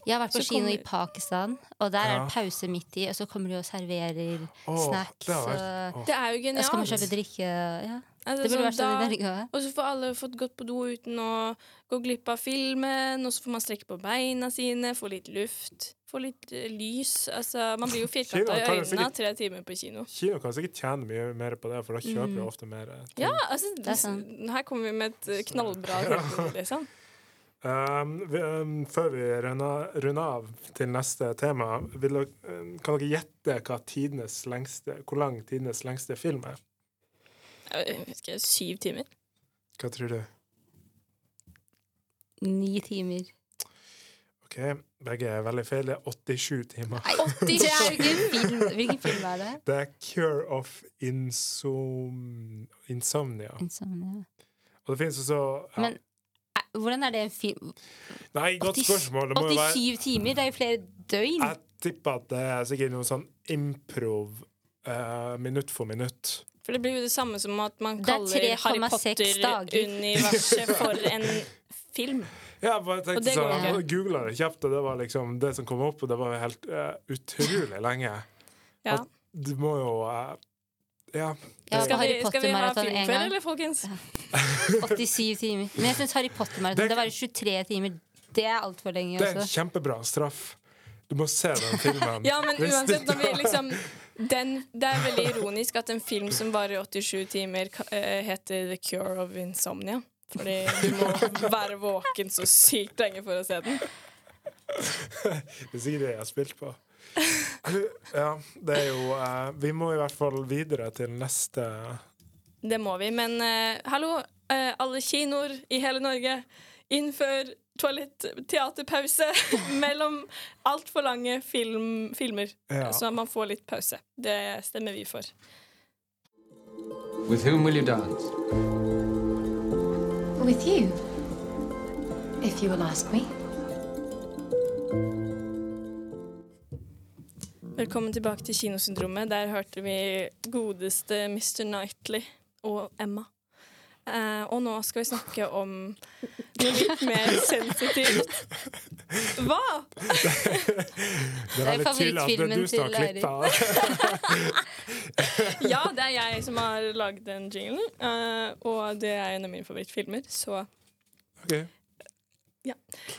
[SPEAKER 3] Jeg har vært på
[SPEAKER 6] Så
[SPEAKER 3] kino
[SPEAKER 6] kommer-
[SPEAKER 3] i Pakistan, og der er
[SPEAKER 7] Ja.
[SPEAKER 3] det pause midt i, og så kommer de og serverer
[SPEAKER 7] Åh,
[SPEAKER 3] snacks. eh.
[SPEAKER 7] det har
[SPEAKER 3] Og,
[SPEAKER 7] vært- åh.
[SPEAKER 6] Det er jo
[SPEAKER 3] og så kan man
[SPEAKER 6] genialt.
[SPEAKER 3] kjøpe drikke. og- Ja.
[SPEAKER 6] Altså,
[SPEAKER 3] Det burde
[SPEAKER 6] sånn,
[SPEAKER 3] vært sånn i
[SPEAKER 6] da-
[SPEAKER 3] Norge òg.
[SPEAKER 6] og så får alle fått gått på do uten å gå glipp av filmen, og så får man strekke på beina sine, få litt luft, få litt eh, lys. Altså, man blir jo
[SPEAKER 7] Kino
[SPEAKER 6] firkanta i
[SPEAKER 7] tar jo
[SPEAKER 6] øynene av
[SPEAKER 7] sikkert-
[SPEAKER 6] tre timer på kino.
[SPEAKER 7] Kino kan sikkert tjene mye mer på det, for da
[SPEAKER 3] Mm.
[SPEAKER 7] kjøper du ofte mer. eh,
[SPEAKER 6] Ja, altså,
[SPEAKER 3] er sant.
[SPEAKER 6] her kommer vi med et eh, knallbra tilbud, liksom.
[SPEAKER 7] Um, vi, um, før vi runder runder av til neste tema, vil dere, um, kan dere gjette hva tidenes lengste, hvor lang tidenes lengste film er?
[SPEAKER 6] Jeg vet ikke, syv timer?
[SPEAKER 7] Hva tror du?
[SPEAKER 3] Ni timer.
[SPEAKER 7] Ok, Begge er veldig feil. Det er 87 timer.
[SPEAKER 3] Det er jo ikke en film. Hvilken film er det?
[SPEAKER 7] The Cure of insom Insomnia.
[SPEAKER 3] Insomnia.
[SPEAKER 7] Og det finnes jo så ja.
[SPEAKER 3] Men eh, hvordan er det en film?
[SPEAKER 7] Nei, godt
[SPEAKER 3] 80
[SPEAKER 7] spørsmål. Det må jo være
[SPEAKER 3] 87 timer? Det er jo flere døgn.
[SPEAKER 7] Jeg tipper at det er sikkert noe sånn improv eh, minutt for minutt.
[SPEAKER 6] For det blir jo det samme som at man
[SPEAKER 3] Det er
[SPEAKER 6] kaller Harry
[SPEAKER 3] 3,6 dager.
[SPEAKER 6] Potter-universet for en film.
[SPEAKER 7] Ja, jeg bare
[SPEAKER 6] Og
[SPEAKER 7] tenkte
[SPEAKER 6] det går
[SPEAKER 7] sånn,
[SPEAKER 6] ikke.
[SPEAKER 7] jeg googlet det kjapt, og det var liksom det som kom opp, og det var helt eh, utrolig lenge.
[SPEAKER 6] Ja.
[SPEAKER 7] At Du må jo eh,
[SPEAKER 3] Ja,
[SPEAKER 7] Ja. det-
[SPEAKER 3] skal Harry
[SPEAKER 6] skal vi ha
[SPEAKER 3] Potter-maraton en
[SPEAKER 6] filmkveld,
[SPEAKER 3] gang.
[SPEAKER 6] eller, folkens?
[SPEAKER 3] 87 timer. Men jeg syns Harry Potter-maraton
[SPEAKER 7] Det-
[SPEAKER 3] Det varer 23 timer. Det er altfor lenge altså.
[SPEAKER 7] det er en
[SPEAKER 3] også.
[SPEAKER 7] kjempebra straff. Du må se den filmen.
[SPEAKER 6] Ja, men
[SPEAKER 7] Hvis du-
[SPEAKER 6] uansett, når vi liksom den, Det er veldig ironisk at en film som varer 87 timer, ka- eh, heter The Cure of Insomnia. Fordi du må være våken så sykt lenge for å se den.
[SPEAKER 7] Det er sikkert det jeg har spilt på. Ja, det er jo eh, Vi må i hvert fall videre til neste
[SPEAKER 6] Det må vi. Men eh, hallo, eh, alle kinoer i hele Norge, innfør toalett-teaterpause mellom altfor lange film, filmer.
[SPEAKER 7] Ja.
[SPEAKER 6] Så man får litt pause. Det stemmer vi for.
[SPEAKER 8] With whom will you dance?
[SPEAKER 9] With you. If you will ask me.
[SPEAKER 6] Velkommen tilbake til Kinosyndromet. Der hørte vi godeste Mr. Knightley og Emma. Eh, og nå skal vi snakke om noe litt mer sensitivt. Hva?
[SPEAKER 7] Det er
[SPEAKER 3] Det er
[SPEAKER 7] veldig tydelig at det er du som har
[SPEAKER 3] favorittfilmen til
[SPEAKER 7] klippet av.
[SPEAKER 6] Ja, det er jeg som har lagd den jinglen. eh, og det er en av mine favorittfilmer, så
[SPEAKER 7] Ok.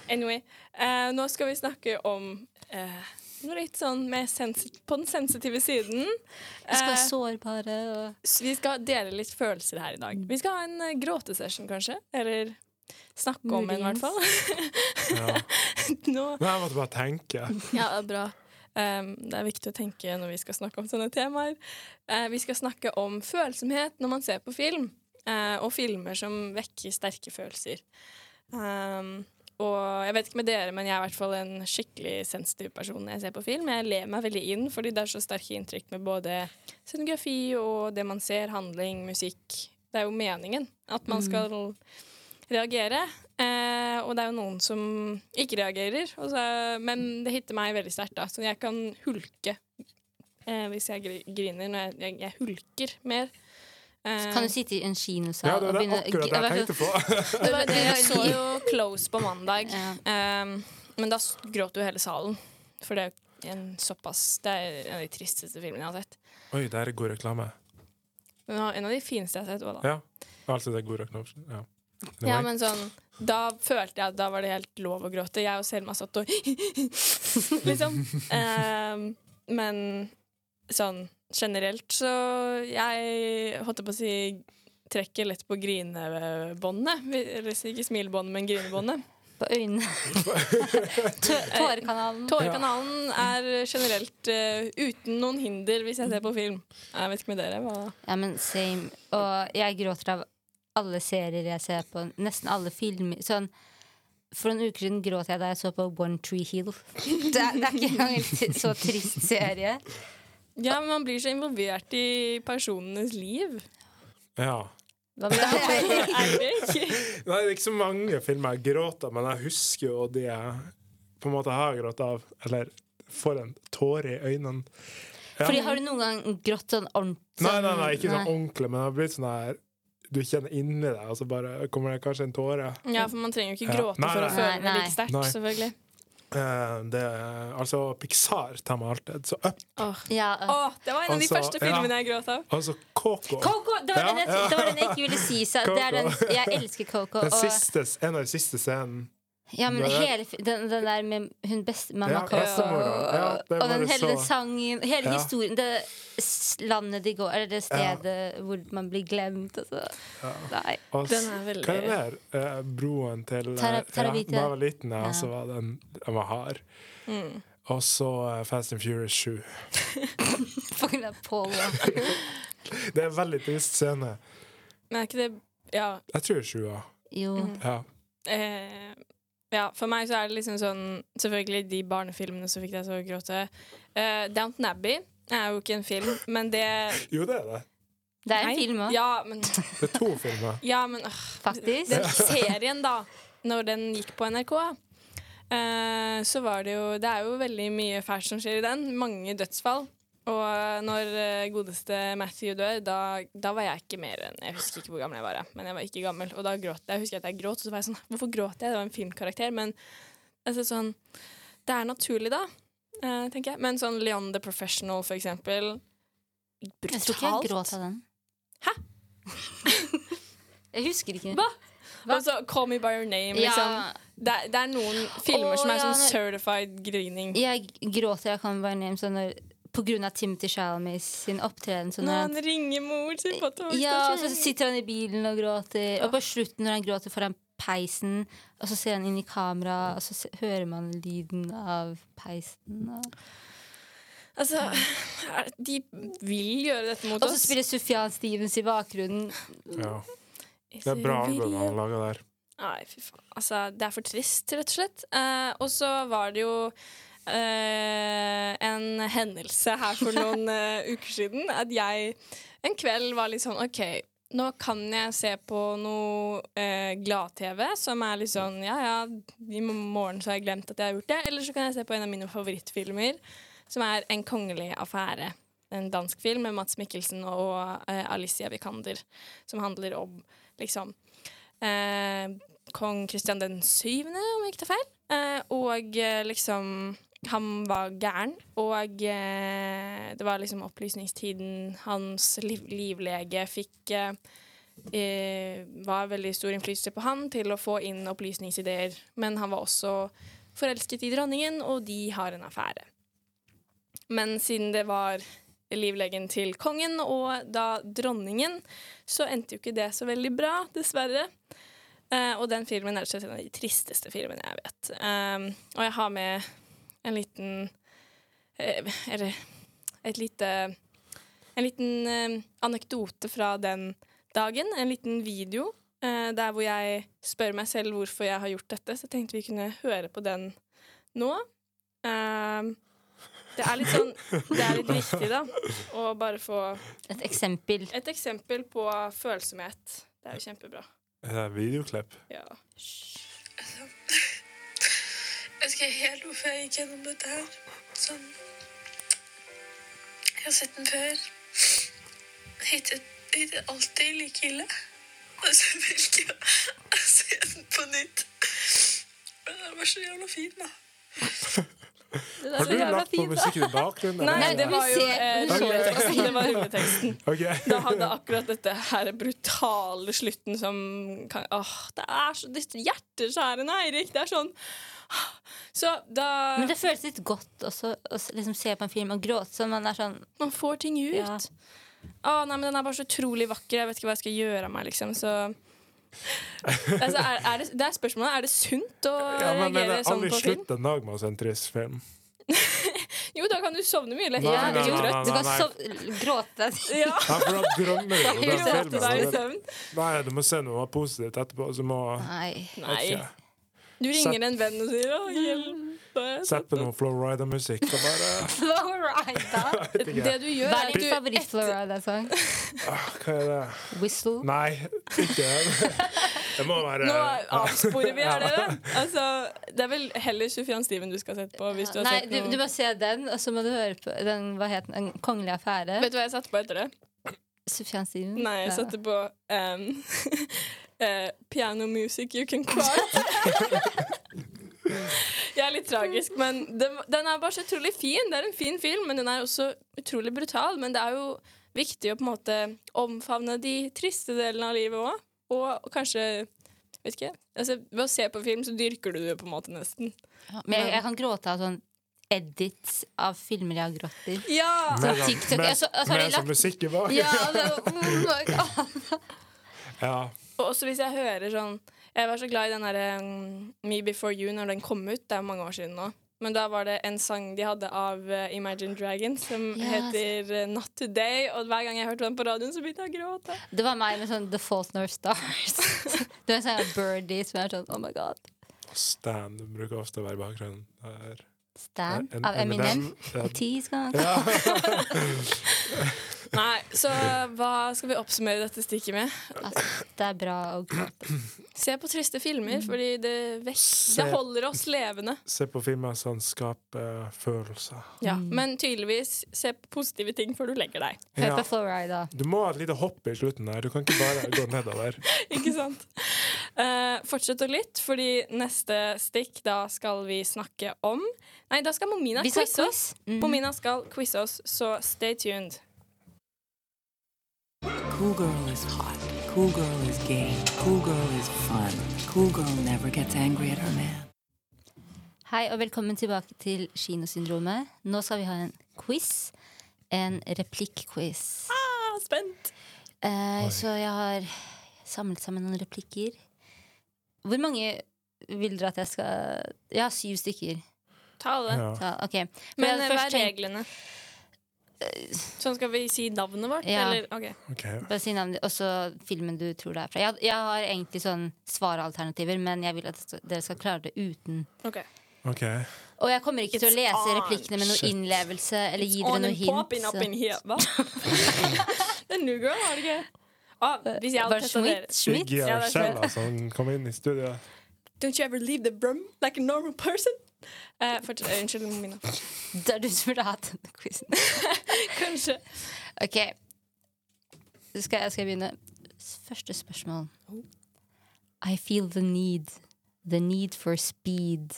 [SPEAKER 6] anyway. eh, nå skal vi snakke om eh, noe litt sånn mer sensi- på den sensitive siden.
[SPEAKER 3] Vi skal være
[SPEAKER 6] Eh,
[SPEAKER 3] sårbare og
[SPEAKER 6] Så Vi skal dele litt følelser her i dag. Vi skal ha en eh, gråtesession, kanskje. Eller snakke om en, i hvert
[SPEAKER 3] Muligens.
[SPEAKER 6] fall.
[SPEAKER 7] Ja.
[SPEAKER 6] Nå.
[SPEAKER 7] Nei, jeg måtte bare tenke.
[SPEAKER 6] Ja, det er bra. Em, det er viktig å tenke når vi skal snakke om sånne temaer. Eh, vi skal snakke om følsomhet når man ser på film. eh, og filmer som vekker sterke følelser. Um, og jeg vet ikke med dere, men jeg er i hvert fall en skikkelig sensitiv person når jeg ser på film. Jeg ler meg veldig inn, fordi det er så sterke inntrykk med både scenografi og det man ser, handling, musikk. Det er jo meningen at man skal reagere. Eh, og det er jo noen som ikke reagerer, og så- men det hitter meg veldig sterkt. da. Så jeg kan hulke eh, hvis jeg gri- griner. Når jeg, jeg, jeg hulker mer. Eh,
[SPEAKER 3] Kan du sitte i en kinosal
[SPEAKER 7] Ja, det
[SPEAKER 3] og
[SPEAKER 7] var det
[SPEAKER 3] begynne
[SPEAKER 7] akkurat det jeg tenkte på.
[SPEAKER 6] det var, det, jeg så jo Close på mandag,
[SPEAKER 3] Ja.
[SPEAKER 6] um, men da s- gråt jo hele salen. For det er jo en såpass Det er en av de tristeste filmene jeg har sett.
[SPEAKER 7] Oi, der er god reklame.
[SPEAKER 6] Men det var en av de fineste jeg har sett. også Da.
[SPEAKER 7] Ja. Altså, det er god reklame. Ja. Anyway.
[SPEAKER 6] Ja, men sånn, da følte jeg at da var det helt lov å gråte. Jeg og Selma satt og Liksom. Um, men sånn generelt så Jeg holdt på å si trekker lett på grinebåndet. Eller ikke smilebåndet, men grinebåndet.
[SPEAKER 3] på øynene. Tå- Tårekanalen.
[SPEAKER 6] Tårekanalen er generelt eh, uten noen hinder hvis jeg ser på film. Jeg vet ikke med dere hva
[SPEAKER 3] Ja, men same. Og jeg gråter av alle serier jeg ser på. Nesten alle filmer. Sånn, for noen uker siden gråt jeg da jeg så på One Tree Hill. Det er, det er ikke engang en t- så trist serie.
[SPEAKER 6] Ja, men Man blir så involvert i personenes liv.
[SPEAKER 7] ja.
[SPEAKER 6] Da blir jeg er det ikke.
[SPEAKER 7] Nei, det er ikke så mange filmer jeg gråter, men jeg husker jo de jeg på en måte har grått av. Eller får en tåre i øynene. Ja.
[SPEAKER 3] Fordi har du noen gang grått sånn ordentlig?
[SPEAKER 7] Nei, nei, nei, ikke
[SPEAKER 3] Nei.
[SPEAKER 7] sånn ordentlig, men det har blitt sånn her Du kjenner inni deg, og så bare kommer det kanskje en tåre.
[SPEAKER 6] Ja, for man trenger jo ikke
[SPEAKER 7] Ja.
[SPEAKER 6] gråte
[SPEAKER 7] Nei,
[SPEAKER 6] for å
[SPEAKER 7] nei.
[SPEAKER 6] føle det
[SPEAKER 3] Nei, nei.
[SPEAKER 6] like sterkt,
[SPEAKER 7] Nei.
[SPEAKER 6] selvfølgelig.
[SPEAKER 7] Eh, det, altså Pixar tar meg alltid. Så Up,
[SPEAKER 6] Åh.
[SPEAKER 3] Ja,
[SPEAKER 6] Å, det var en av de
[SPEAKER 7] Altså,
[SPEAKER 6] første
[SPEAKER 7] ja.
[SPEAKER 6] filmene jeg gråt av.
[SPEAKER 7] altså Coco.
[SPEAKER 3] Coco! Det var,
[SPEAKER 7] Ja,
[SPEAKER 3] den jeg,
[SPEAKER 7] ja.
[SPEAKER 3] det var den jeg ikke ville si. Så det er den,
[SPEAKER 7] Coco.
[SPEAKER 3] jeg elsker Coco.
[SPEAKER 7] Den
[SPEAKER 3] Og,
[SPEAKER 7] siste, en av de siste scenene.
[SPEAKER 3] ja, men
[SPEAKER 7] det er-
[SPEAKER 3] hele, fi- den, den der med hun bestemamma
[SPEAKER 7] Ja,
[SPEAKER 3] Coco,
[SPEAKER 7] bestemora. Ja, det
[SPEAKER 3] og den
[SPEAKER 7] var
[SPEAKER 3] hele
[SPEAKER 7] så-
[SPEAKER 3] sangen, hele
[SPEAKER 7] Ja.
[SPEAKER 3] historien, det s- landet de går Eller det stedet hvor man blir glemt, og så Nei.
[SPEAKER 7] Og,
[SPEAKER 6] Den
[SPEAKER 7] s-
[SPEAKER 6] er veldig-
[SPEAKER 7] Hva er det der? Eh, broen til eh,
[SPEAKER 3] Tara- Taravita.
[SPEAKER 7] Ja, da jeg var liten, ja,
[SPEAKER 3] Ja.
[SPEAKER 7] så var den, den var hard. Og så eh, Fast and Furious 7.
[SPEAKER 3] Fucking Paul Walker.
[SPEAKER 7] Det er en veldig trist scene.
[SPEAKER 6] Men er ikke det Ja.
[SPEAKER 7] Jeg tror det er sjua.
[SPEAKER 3] Jo.
[SPEAKER 7] Ja.
[SPEAKER 6] Eh, ja, for meg så er det liksom sånn Selvfølgelig de barnefilmene som fikk deg til å gråte. Eh, Downton Abbey er jo ikke en film, men det
[SPEAKER 7] Jo, det er det.
[SPEAKER 3] Det er
[SPEAKER 6] Nei.
[SPEAKER 3] en film òg,
[SPEAKER 6] Ja, men
[SPEAKER 7] Det er to filmer.
[SPEAKER 6] Ja, men øh,
[SPEAKER 3] faktisk.
[SPEAKER 6] den serien, da, når den gikk på NRK eh, så var det jo Det er jo veldig mye fælt som skjer i den. Mange dødsfall. Og når eh, godeste Matthew dør, da, da var jeg ikke mer enn Jeg husker ikke hvor gammel jeg var, jeg, men jeg var ikke gammel. Og da gråt jeg. Jeg husker at jeg gråt, og så var jeg sånn Hvorfor gråt jeg? Det var en filmkarakter. Men altså, sånn, det er naturlig, da. eh, tenker jeg. Men sånn Leon the Professional, for eksempel.
[SPEAKER 3] Jeg tror ikke jeg gråt
[SPEAKER 6] Brutalt.
[SPEAKER 3] av den.
[SPEAKER 6] Hæ?
[SPEAKER 3] jeg husker ikke.
[SPEAKER 6] Hva? Og så Call Me By Your Name,
[SPEAKER 3] Ja.
[SPEAKER 6] liksom. Det, er- det er noen filmer
[SPEAKER 3] Å,
[SPEAKER 6] som er
[SPEAKER 3] ja,
[SPEAKER 6] sånn
[SPEAKER 3] det-
[SPEAKER 6] certified grining.
[SPEAKER 3] Jeg gråter jeg kan bare name sånn når på grunn av Timothy Chalamet sin opptreden. Så
[SPEAKER 6] Når
[SPEAKER 3] når
[SPEAKER 6] han
[SPEAKER 3] han,
[SPEAKER 6] ringer mor sin på
[SPEAKER 3] ja, og så
[SPEAKER 6] torsdagsmorgen.
[SPEAKER 3] sitter han i bilen og gråter, og på slutten når han gråter foran peisen, og så ser han inn i kamera, og så se, hører man lyden av peisen. Og,
[SPEAKER 6] Altså, er- de vil gjøre dette mot
[SPEAKER 3] og så
[SPEAKER 6] oss.
[SPEAKER 3] spiller Sufjan Stevens i bakgrunnen.
[SPEAKER 7] Ja. Det er bra album han laga der.
[SPEAKER 6] Nei, fy faen. Altså, det er for trist, rett og slett. Eh, og så var det jo eh, en hendelse her for noen eh, uker siden at jeg en kveld var litt sånn OK, nå kan jeg se på noe eh, glad-TV som er litt sånn Ja, ja, i morgen så har jeg glemt at jeg har gjort det. Eller så kan jeg se på en av mine favorittfilmer, som er En kongelig affære. En dansk film med Mats Mikkelsen og eh, Alicia Vikander, som handler om liksom eh, kong Kristian den syvende, om jeg ikke tar feil. Eh, og eh, liksom Han var gæren, og eh, det var liksom opplysningstiden. Hans liv livlege fikk eh, eh, Var veldig stor innflytelse på han til å få inn opplysningsideer. Men han var også forelsket i dronningen, og de har en affære. Men siden det var livlegen til kongen, og da dronningen, så endte jo ikke det så veldig bra, dessverre. Eh, og den filmen er rett og slett en av de tristeste filmene jeg vet. Um, og jeg har med en liten eh, Eller et lite En liten eh, anekdote fra den dagen en liten video eh, der hvor jeg spør meg selv hvorfor jeg har gjort dette. Så jeg tenkte vi kunne høre på den nå. Ehm, det er litt sånn Det er litt viktig, da, å bare få
[SPEAKER 3] Et eksempel.
[SPEAKER 6] et eksempel på følsomhet. Det er jo kjempebra.
[SPEAKER 7] Det er Eh, videoklipp.
[SPEAKER 6] Ja.
[SPEAKER 8] Jeg husker helt hvorfor jeg gikk gjennom dette her. Sånn Jeg har sett den før. Hittet, hittet alltid like ille. Og så velger jeg å se den på nytt. Men den var så jævla fin, da.
[SPEAKER 6] Det
[SPEAKER 7] Har du lagt på musikk i bakgrunnen?
[SPEAKER 6] Nei,
[SPEAKER 3] Nei,
[SPEAKER 6] det var
[SPEAKER 3] vi
[SPEAKER 6] jo
[SPEAKER 3] ser-
[SPEAKER 6] eh,
[SPEAKER 3] vi så
[SPEAKER 6] rulleteksten. Det var rulleteksten.
[SPEAKER 7] Ok.
[SPEAKER 6] Da hadde akkurat dette her brutale slutten som kan, åh, Det er så det er hjerteskjærende, Eirik. Det er sånn Så da
[SPEAKER 3] Men det føles litt godt også å s- liksom se på en film og gråte. Så man er sånn
[SPEAKER 6] Man får ting ut.
[SPEAKER 3] Ja.
[SPEAKER 6] Å, nei, men Den er bare så utrolig vakker. Jeg vet ikke hva jeg skal gjøre av meg, liksom. Så altså, er, er det, det er spørsmålet. Er det sunt å
[SPEAKER 7] Ja, men det
[SPEAKER 6] reagere
[SPEAKER 7] er
[SPEAKER 6] sånn
[SPEAKER 7] aldri
[SPEAKER 6] på film?
[SPEAKER 7] slutt en dag med å se en trist film.
[SPEAKER 6] Jo, da kan du sovne mye lettere.
[SPEAKER 3] ja,
[SPEAKER 7] Nei,
[SPEAKER 6] du
[SPEAKER 7] nei,
[SPEAKER 3] jo,
[SPEAKER 6] blir
[SPEAKER 7] nei, nei,
[SPEAKER 6] trøtt.
[SPEAKER 3] Du kan
[SPEAKER 7] nei.
[SPEAKER 3] sov gråte.
[SPEAKER 6] Ja,
[SPEAKER 7] Ja, for da drømmer du om den
[SPEAKER 6] gråte deg i
[SPEAKER 7] filmen.
[SPEAKER 6] søvn.
[SPEAKER 7] Nei, du må se noe positivt etterpå. Så må
[SPEAKER 3] Nei.
[SPEAKER 6] Nei.
[SPEAKER 7] Ok.
[SPEAKER 6] Du ringer en venn og sier 'Å, hjelp meg'.
[SPEAKER 7] Sett på noe Florida-musikk og bare
[SPEAKER 3] Florida.
[SPEAKER 7] Vet ikke.
[SPEAKER 6] Det du gjør,
[SPEAKER 3] Hva
[SPEAKER 6] er
[SPEAKER 3] er
[SPEAKER 6] at
[SPEAKER 3] din
[SPEAKER 6] du
[SPEAKER 3] favoritt-Florida-sang?
[SPEAKER 7] Ah, Hva er det?
[SPEAKER 3] Whistle?
[SPEAKER 7] Nei, ikke det. Det må være
[SPEAKER 6] Nå avsporer vi her, dere. Altså, det er vel heller Sufjan Steven du skal sette på. Hvis du har
[SPEAKER 3] Nei,
[SPEAKER 6] sett
[SPEAKER 3] du,
[SPEAKER 6] noe.
[SPEAKER 3] du må se den, og så må du høre på den hva het den? En kongelig affære.
[SPEAKER 6] Vet du hva jeg satte på etter det?
[SPEAKER 3] Sufjan Steven.
[SPEAKER 6] Nei, jeg satte på um, eh, Piano music you can cry. jeg er litt tragisk, men den, den er bare så utrolig fin. Det er en fin film, men den er også utrolig brutal. Men det er jo viktig å på en måte omfavne de triste delene av livet òg. Og kanskje Vet ikke. Altså, ved å se på film, så dyrker du det på en måte, nesten.
[SPEAKER 3] Ja, Men jeg, jeg kan gråte av sånn edits av filmer jeg har grått i.
[SPEAKER 6] Ja!
[SPEAKER 3] Sånn TikTok. Jeg så, jeg så har de
[SPEAKER 7] med sånn
[SPEAKER 3] lagt
[SPEAKER 7] musikk i bak.
[SPEAKER 3] ja, det, oh my God.
[SPEAKER 7] Ja.
[SPEAKER 6] Og også hvis jeg hører sånn Jeg var så glad i den derre mm, Me Before You når den kom ut. Det er mange år siden nå. Men da var det en sang de hadde av eh, Imagine Dragons som
[SPEAKER 3] Ja,
[SPEAKER 6] heter eh, Not Today. Og hver gang jeg hørte den på radioen, så begynte jeg å gråte.
[SPEAKER 3] det var meg med sånn The Fault North Stars. Du er en sånn birdie som er sånn oh my god.
[SPEAKER 7] Stan bruker ofte å være i bakgrunnen. Der.
[SPEAKER 3] Stan
[SPEAKER 7] En-
[SPEAKER 3] av Eminem.
[SPEAKER 7] Ja.
[SPEAKER 3] Tea's gone.
[SPEAKER 6] Nei, Så hva skal vi oppsummere dette stikket med?
[SPEAKER 3] Altså, det er bra å gråte.
[SPEAKER 6] Se på triste filmer, fordi det, vekk, det holder oss levende.
[SPEAKER 7] Se på filmer som skaper følelser.
[SPEAKER 6] Ja, Men tydeligvis se på positive ting før du legger deg.
[SPEAKER 3] Hør
[SPEAKER 7] Ja.
[SPEAKER 3] på Florida.
[SPEAKER 7] Du må ha et lite hopp i slutten her. Du kan ikke bare gå nedover.
[SPEAKER 6] Ikke sant? Eh, fortsett å lytte, fordi neste stikk, da skal vi snakke om Nei, da skal Momina
[SPEAKER 3] Vi skal
[SPEAKER 6] quize oss.
[SPEAKER 3] quiz. Mm.
[SPEAKER 6] Momina skal quize oss, så stay tuned.
[SPEAKER 10] Cool girl is hot. Cool girl is gay. Cool girl is fun. Cool girl never gets angry at her man.
[SPEAKER 3] Hei og velkommen tilbake til Kinosyndromet. Nå skal vi ha en quiz. En replikk-quiz.
[SPEAKER 6] Ah, spent!
[SPEAKER 3] Eh, så jeg har samlet sammen noen replikker. Hvor mange vil dere at jeg skal Jeg har syv stykker.
[SPEAKER 6] Ta alle.
[SPEAKER 7] Ja.
[SPEAKER 3] Så, ok. For
[SPEAKER 6] Men
[SPEAKER 3] jeg
[SPEAKER 6] eh,
[SPEAKER 3] først
[SPEAKER 6] hva er
[SPEAKER 3] tenkt-
[SPEAKER 6] reglene? Sånn skal vi si navnet vårt,
[SPEAKER 3] Ja.
[SPEAKER 6] eller? ok.
[SPEAKER 7] Ok.
[SPEAKER 3] Bare si navnet ditt, og så filmen du tror det er fra. Jeg, jeg har egentlig sånn svaralternativer, men jeg vil at dere skal klare det uten.
[SPEAKER 6] Ok.
[SPEAKER 7] ok.
[SPEAKER 3] Og jeg kommer ikke til å
[SPEAKER 6] It's
[SPEAKER 3] lese
[SPEAKER 6] on.
[SPEAKER 3] replikkene med noe
[SPEAKER 7] Shit.
[SPEAKER 3] innlevelse eller gi dere
[SPEAKER 6] On
[SPEAKER 3] noe
[SPEAKER 6] and popping
[SPEAKER 3] hint. så-
[SPEAKER 6] up in here. Hva? det er New Girl, var det ikke? Ah, hvis jeg
[SPEAKER 3] Var
[SPEAKER 6] hadde
[SPEAKER 3] det
[SPEAKER 6] testa
[SPEAKER 3] Schmidt?
[SPEAKER 6] dere
[SPEAKER 3] Schmidt?
[SPEAKER 7] Iggy
[SPEAKER 6] Ja,
[SPEAKER 7] og
[SPEAKER 6] det er
[SPEAKER 7] Kjella som kom inn i studio.
[SPEAKER 6] Don't you ever leave the room like a normal person? Eh, fortsett. eh, Unnskyld, Momina.
[SPEAKER 3] Det er du som burde hatt denne quizen.
[SPEAKER 6] Kanskje.
[SPEAKER 3] Ok skal jeg, skal jeg begynne? S- Første spørsmål
[SPEAKER 6] Oh.
[SPEAKER 3] I feel the need The need for speed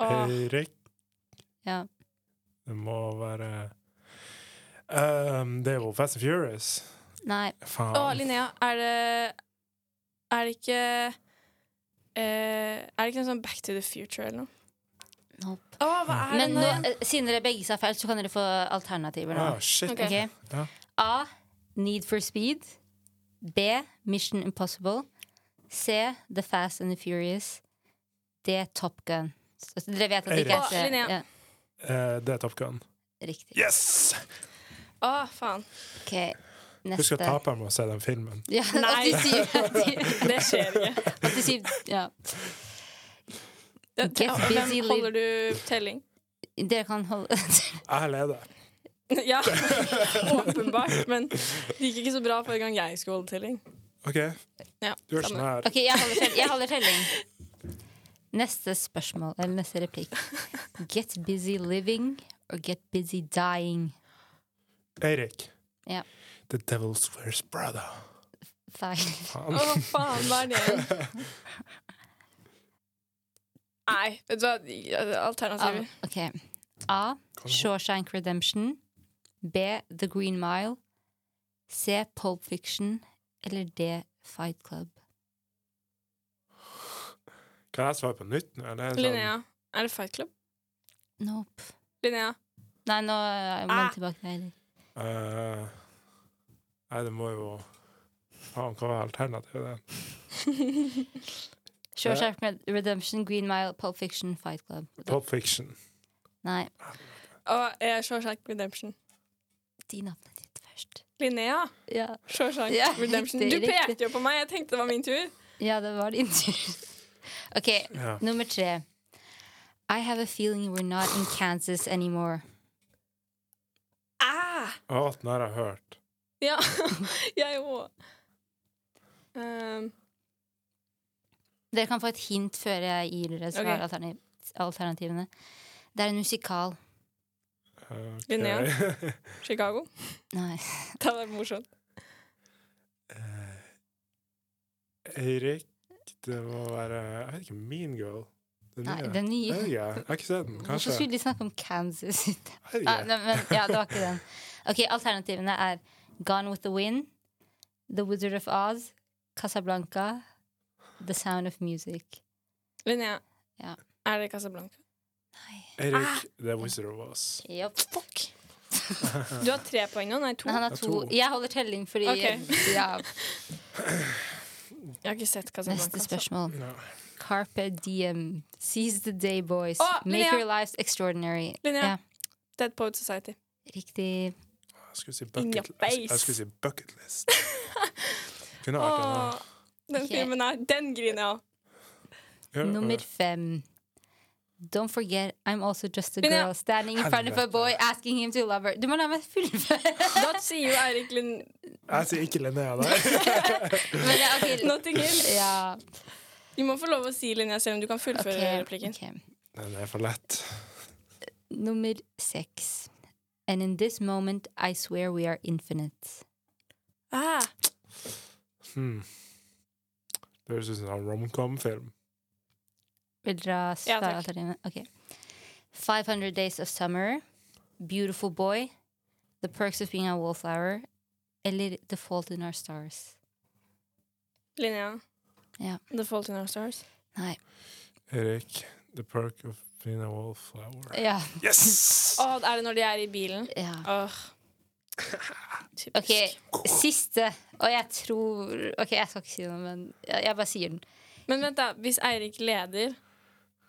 [SPEAKER 6] Åh,
[SPEAKER 7] Eirik,
[SPEAKER 3] Ja,
[SPEAKER 7] det må være Ehm, Det er jo Fast and Furious.
[SPEAKER 3] nei
[SPEAKER 7] Faen.
[SPEAKER 6] Å, Linnea, er det Er det ikke eh, Er det ikke noe sånn Back to the Future eller noe?
[SPEAKER 3] Nope.
[SPEAKER 6] Å, hva er
[SPEAKER 3] Men
[SPEAKER 6] det
[SPEAKER 3] nå,
[SPEAKER 6] nå?
[SPEAKER 3] eh, siden dere begge sa feil Så kan dere få alternativer nå
[SPEAKER 7] ah, shit.
[SPEAKER 6] Ok.
[SPEAKER 3] Ok.
[SPEAKER 7] Ja.
[SPEAKER 3] A Need for speed B Mission impossible C The fast and the furious D Top gun Så dere vet at det ikke
[SPEAKER 6] Å,
[SPEAKER 3] er så-
[SPEAKER 6] Linnea.
[SPEAKER 3] ja,
[SPEAKER 7] Eh, det er Top Gun.
[SPEAKER 3] Riktig
[SPEAKER 7] Yes!
[SPEAKER 6] Å, faen.
[SPEAKER 3] Ok neste
[SPEAKER 7] Husk at taperen må se den filmen.
[SPEAKER 3] Ja,
[SPEAKER 6] Nei.
[SPEAKER 3] 87.
[SPEAKER 6] Det skjer ikke.
[SPEAKER 3] 87 ja. Get
[SPEAKER 6] Hvem
[SPEAKER 3] busy,
[SPEAKER 6] holder du telling?
[SPEAKER 3] Dere kan holde
[SPEAKER 7] Jeg leder.
[SPEAKER 6] Ja, åpenbart. Men det gikk ikke så bra forrige gang jeg skulle holde telling.
[SPEAKER 7] OK,
[SPEAKER 6] Ja,
[SPEAKER 7] du gjør sånn
[SPEAKER 6] samme.
[SPEAKER 7] her.
[SPEAKER 3] OK, jeg holder, tell- jeg holder telling. Neste spørsmål, eller neste replikk. Get busy living or get busy dying?
[SPEAKER 7] Eirik.
[SPEAKER 3] Ja.
[SPEAKER 7] The Devil's Wears Brother.
[SPEAKER 3] Feil.
[SPEAKER 6] Å, faen, hva er det? Nei, vet du hva? Alternativer.
[SPEAKER 3] OK. A. Shawshank Redemption. B. The Green Mile. C. Pulp Fiction. Eller D. Fight Club.
[SPEAKER 7] Kan jeg svare på nytt? nå, Eller er det sånn-
[SPEAKER 6] Linnea. Er det Fight Club?
[SPEAKER 3] Nope.
[SPEAKER 6] Linnea.
[SPEAKER 3] Nei, nå er man
[SPEAKER 6] Ah.
[SPEAKER 3] tilbake der.
[SPEAKER 7] Eh, nei, det må jo Faen, hva er alternativet? der?
[SPEAKER 3] Shawshank Red- Redemption, Green Mile, Pulp Fiction, Fight Club.
[SPEAKER 7] Pulp Fiction.
[SPEAKER 3] Nei,
[SPEAKER 6] Og eh, Shawshank Redemption.
[SPEAKER 3] de navnene ditt først.
[SPEAKER 6] Linnea.
[SPEAKER 3] Ja,
[SPEAKER 6] Shawshank
[SPEAKER 3] Ja,
[SPEAKER 6] Redemption. Du
[SPEAKER 3] riktig, riktig.
[SPEAKER 6] pekte jo på meg! Jeg tenkte det var min tur.
[SPEAKER 3] ja det var din tur. OK,
[SPEAKER 7] Ja.
[SPEAKER 3] nummer tre. I have a feeling we're not in Kansas anymore.
[SPEAKER 6] Ah!
[SPEAKER 7] Å, den har jeg hørt.
[SPEAKER 6] Ja, jeg òg. Um,
[SPEAKER 3] Dere kan få et hint før jeg gir dere svar
[SPEAKER 6] Ok.
[SPEAKER 3] alterni- alternativene. Det er en musikal.
[SPEAKER 7] Eh, ok.
[SPEAKER 6] Linnea? Chicago.
[SPEAKER 3] Nei.
[SPEAKER 6] Det hadde vært morsomt.
[SPEAKER 7] Eh, Eirik, det må være Jeg vet ikke, Mean Girl. Den
[SPEAKER 3] Nei, den nye.
[SPEAKER 7] Jeg vet ikke, jeg har ikke sett den.
[SPEAKER 3] Hvorfor
[SPEAKER 7] Kanskje.
[SPEAKER 3] skulle de snakke om Kansas?
[SPEAKER 7] Jeg
[SPEAKER 3] Nei,
[SPEAKER 7] vet ikke.
[SPEAKER 3] nei, men, ja, det var ikke den. Ok, Alternativene er Gone with the Wind, The Wizard of Oz, Casablanca, The Sound of Music.
[SPEAKER 6] Linnea.
[SPEAKER 3] Ja.
[SPEAKER 6] Er det Casablanca?
[SPEAKER 7] Eirik, The Wizard of Oz.
[SPEAKER 3] Yep.
[SPEAKER 6] Du har tre poeng nå? Nei, to.
[SPEAKER 3] Han har
[SPEAKER 7] Det er
[SPEAKER 3] to.
[SPEAKER 7] to.
[SPEAKER 3] Jeg holder telling fordi
[SPEAKER 6] Ok.
[SPEAKER 3] ja.
[SPEAKER 6] Jeg har ikke sett Casablanca. altså.
[SPEAKER 3] Neste spørsmål.
[SPEAKER 7] Ja.
[SPEAKER 3] Carpe diem. Seize the day, boys.
[SPEAKER 6] Å,
[SPEAKER 3] Make
[SPEAKER 6] Oh, Linnea.
[SPEAKER 3] your lives extraordinary.
[SPEAKER 6] Linnea.
[SPEAKER 3] Ja,
[SPEAKER 6] så. Dead Poet Society.
[SPEAKER 3] riktig.
[SPEAKER 7] Jeg skulle si
[SPEAKER 6] In your
[SPEAKER 7] bucket, jeg, jeg
[SPEAKER 6] face.
[SPEAKER 7] skulle si bucket list. Kunne vært den her.
[SPEAKER 6] Åh, den
[SPEAKER 3] Ok.
[SPEAKER 6] filmen her. Den griner jeg av.
[SPEAKER 7] Ja,
[SPEAKER 3] Nummer
[SPEAKER 7] ja.
[SPEAKER 3] fem. Don't forget, I'm also just a
[SPEAKER 6] Linnea.
[SPEAKER 3] girl standing in front of a boy asking him to love her. Du må la meg fullføre!
[SPEAKER 6] Da sier jo Eirik Linn
[SPEAKER 7] Jeg sier ikke Linnea der.
[SPEAKER 3] Men ja, ok.
[SPEAKER 6] Notting Hill.
[SPEAKER 3] Ja,
[SPEAKER 6] Du må få lov å si Linnea selv om du kan fullføre
[SPEAKER 3] ok,
[SPEAKER 6] replikken.
[SPEAKER 3] ok.
[SPEAKER 7] Den er for lett.
[SPEAKER 3] Nummer seks. And in this moment, I swear we are infinite.
[SPEAKER 6] Ah,
[SPEAKER 7] Hmm. Det høres ut som en romcom-film.
[SPEAKER 3] Vil dere
[SPEAKER 6] Ja,
[SPEAKER 3] svare
[SPEAKER 6] takk.
[SPEAKER 3] alternativene? Ok. 500 Days of Summer, Beautiful Boy, The Perks of Being a Wallflower, eller The Fault in Our Stars.
[SPEAKER 6] Linnea.
[SPEAKER 3] Ja.
[SPEAKER 6] The Fault in Our Stars.
[SPEAKER 3] Nei.
[SPEAKER 7] Eirik, The Perk of Being a Wallflower.
[SPEAKER 3] Ja.
[SPEAKER 7] Yes!
[SPEAKER 6] Åh, er det når de er i bilen?
[SPEAKER 3] ja.
[SPEAKER 6] Åh.
[SPEAKER 3] Ok, siste. Og jeg tror Ok, jeg skal ikke si noe, men jeg, jeg bare sier den.
[SPEAKER 6] Men vent, da. Hvis Eirik leder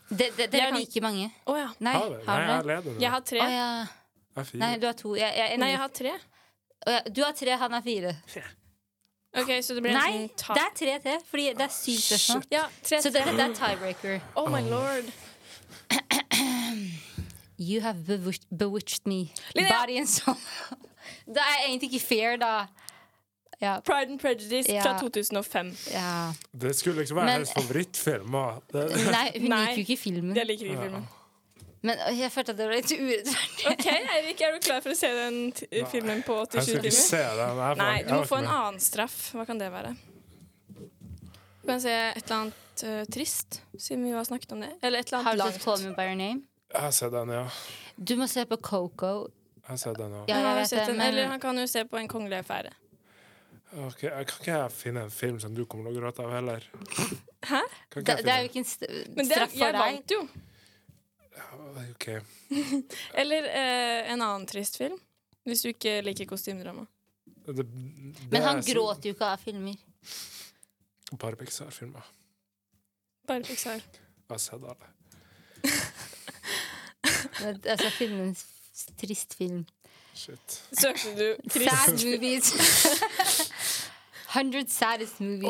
[SPEAKER 3] Det- det- Dere
[SPEAKER 6] Jeg
[SPEAKER 3] er
[SPEAKER 6] kan-
[SPEAKER 3] like mange.
[SPEAKER 6] Å ja.
[SPEAKER 3] Nei,
[SPEAKER 7] Har vi? Nei,
[SPEAKER 3] har
[SPEAKER 7] jeg
[SPEAKER 3] dere?
[SPEAKER 7] leder nå.
[SPEAKER 6] Jeg har tre.
[SPEAKER 3] Å ja.
[SPEAKER 7] Jeg er fire.
[SPEAKER 3] Nei, du har to. Jeg, jeg,
[SPEAKER 6] Nei, jeg
[SPEAKER 3] har...
[SPEAKER 6] har tre.
[SPEAKER 3] Du har tre, han har fire.
[SPEAKER 6] OK, så det blir
[SPEAKER 3] Nei,
[SPEAKER 6] nesten
[SPEAKER 3] det er tre til, fordi det er syv spørsmål.
[SPEAKER 6] Ja, tre.
[SPEAKER 3] Så det, det er tiebreaker.
[SPEAKER 6] Oh my lord.
[SPEAKER 3] You have bewitched, bewitched me.
[SPEAKER 6] Linnea!
[SPEAKER 3] Body and soul. Det er egentlig ikke fair, da. Ja.
[SPEAKER 6] Pride and Prejudice
[SPEAKER 3] Ja.
[SPEAKER 6] fra 2005.
[SPEAKER 3] ja.
[SPEAKER 7] Det skulle liksom være
[SPEAKER 3] Men-
[SPEAKER 7] hennes favorittfilm. også. Det,
[SPEAKER 3] Nei, hun
[SPEAKER 6] Nei.
[SPEAKER 3] liker jo ikke filmen.
[SPEAKER 6] Jeg liker ikke filmen.
[SPEAKER 3] Men øh, jeg følte at det var litt urettferdig.
[SPEAKER 6] OK, Eirik, er du klar for å se den t filmen på
[SPEAKER 7] jeg
[SPEAKER 6] 87
[SPEAKER 7] skal ikke
[SPEAKER 6] timer?
[SPEAKER 7] se den. Jeg får-
[SPEAKER 6] Nei,
[SPEAKER 7] jeg
[SPEAKER 6] du må
[SPEAKER 7] var
[SPEAKER 6] få
[SPEAKER 7] ikke
[SPEAKER 6] en
[SPEAKER 7] med.
[SPEAKER 6] annen straff. Hva kan det være? Du kan se et eller annet eh, trist, siden vi jo har snakket om det. Eller et eller
[SPEAKER 3] Har
[SPEAKER 6] annet
[SPEAKER 3] du sett Call
[SPEAKER 6] langt.
[SPEAKER 3] Me By Your Name?
[SPEAKER 7] Jeg har sett den, ja.
[SPEAKER 3] Du må se på Coco.
[SPEAKER 7] Jeg har sett den også.
[SPEAKER 3] Ja,
[SPEAKER 6] Han
[SPEAKER 3] jeg
[SPEAKER 6] har jo
[SPEAKER 3] vet
[SPEAKER 6] sett
[SPEAKER 3] det,
[SPEAKER 6] en,
[SPEAKER 3] men
[SPEAKER 6] Eller han kan jo se på En kongelig affære.
[SPEAKER 7] Ok, jeg Kan ikke jeg finne en film som du kommer til å gråte av heller?
[SPEAKER 6] Hæ?
[SPEAKER 7] Kan
[SPEAKER 3] det,
[SPEAKER 7] ikke jeg
[SPEAKER 3] det er jo
[SPEAKER 7] finne-
[SPEAKER 3] ikke en st
[SPEAKER 6] Men det,
[SPEAKER 3] straff
[SPEAKER 6] jeg
[SPEAKER 3] for deg.
[SPEAKER 6] vant jo.
[SPEAKER 7] Ok.
[SPEAKER 6] Eller eh, en annen trist film. Hvis du ikke liker kostymedrama.
[SPEAKER 7] Det, det
[SPEAKER 3] Men han
[SPEAKER 7] er så-
[SPEAKER 3] gråter jo ikke av filmer.
[SPEAKER 7] Bare Pixar-filmer.
[SPEAKER 6] Bare Pixar.
[SPEAKER 7] Jeg har sett alle.
[SPEAKER 3] Det- Altså filmen er en s- trist film.
[SPEAKER 7] Shit.
[SPEAKER 6] Søkte du
[SPEAKER 3] Sad
[SPEAKER 6] trist?
[SPEAKER 3] movies. 100 saddest movies.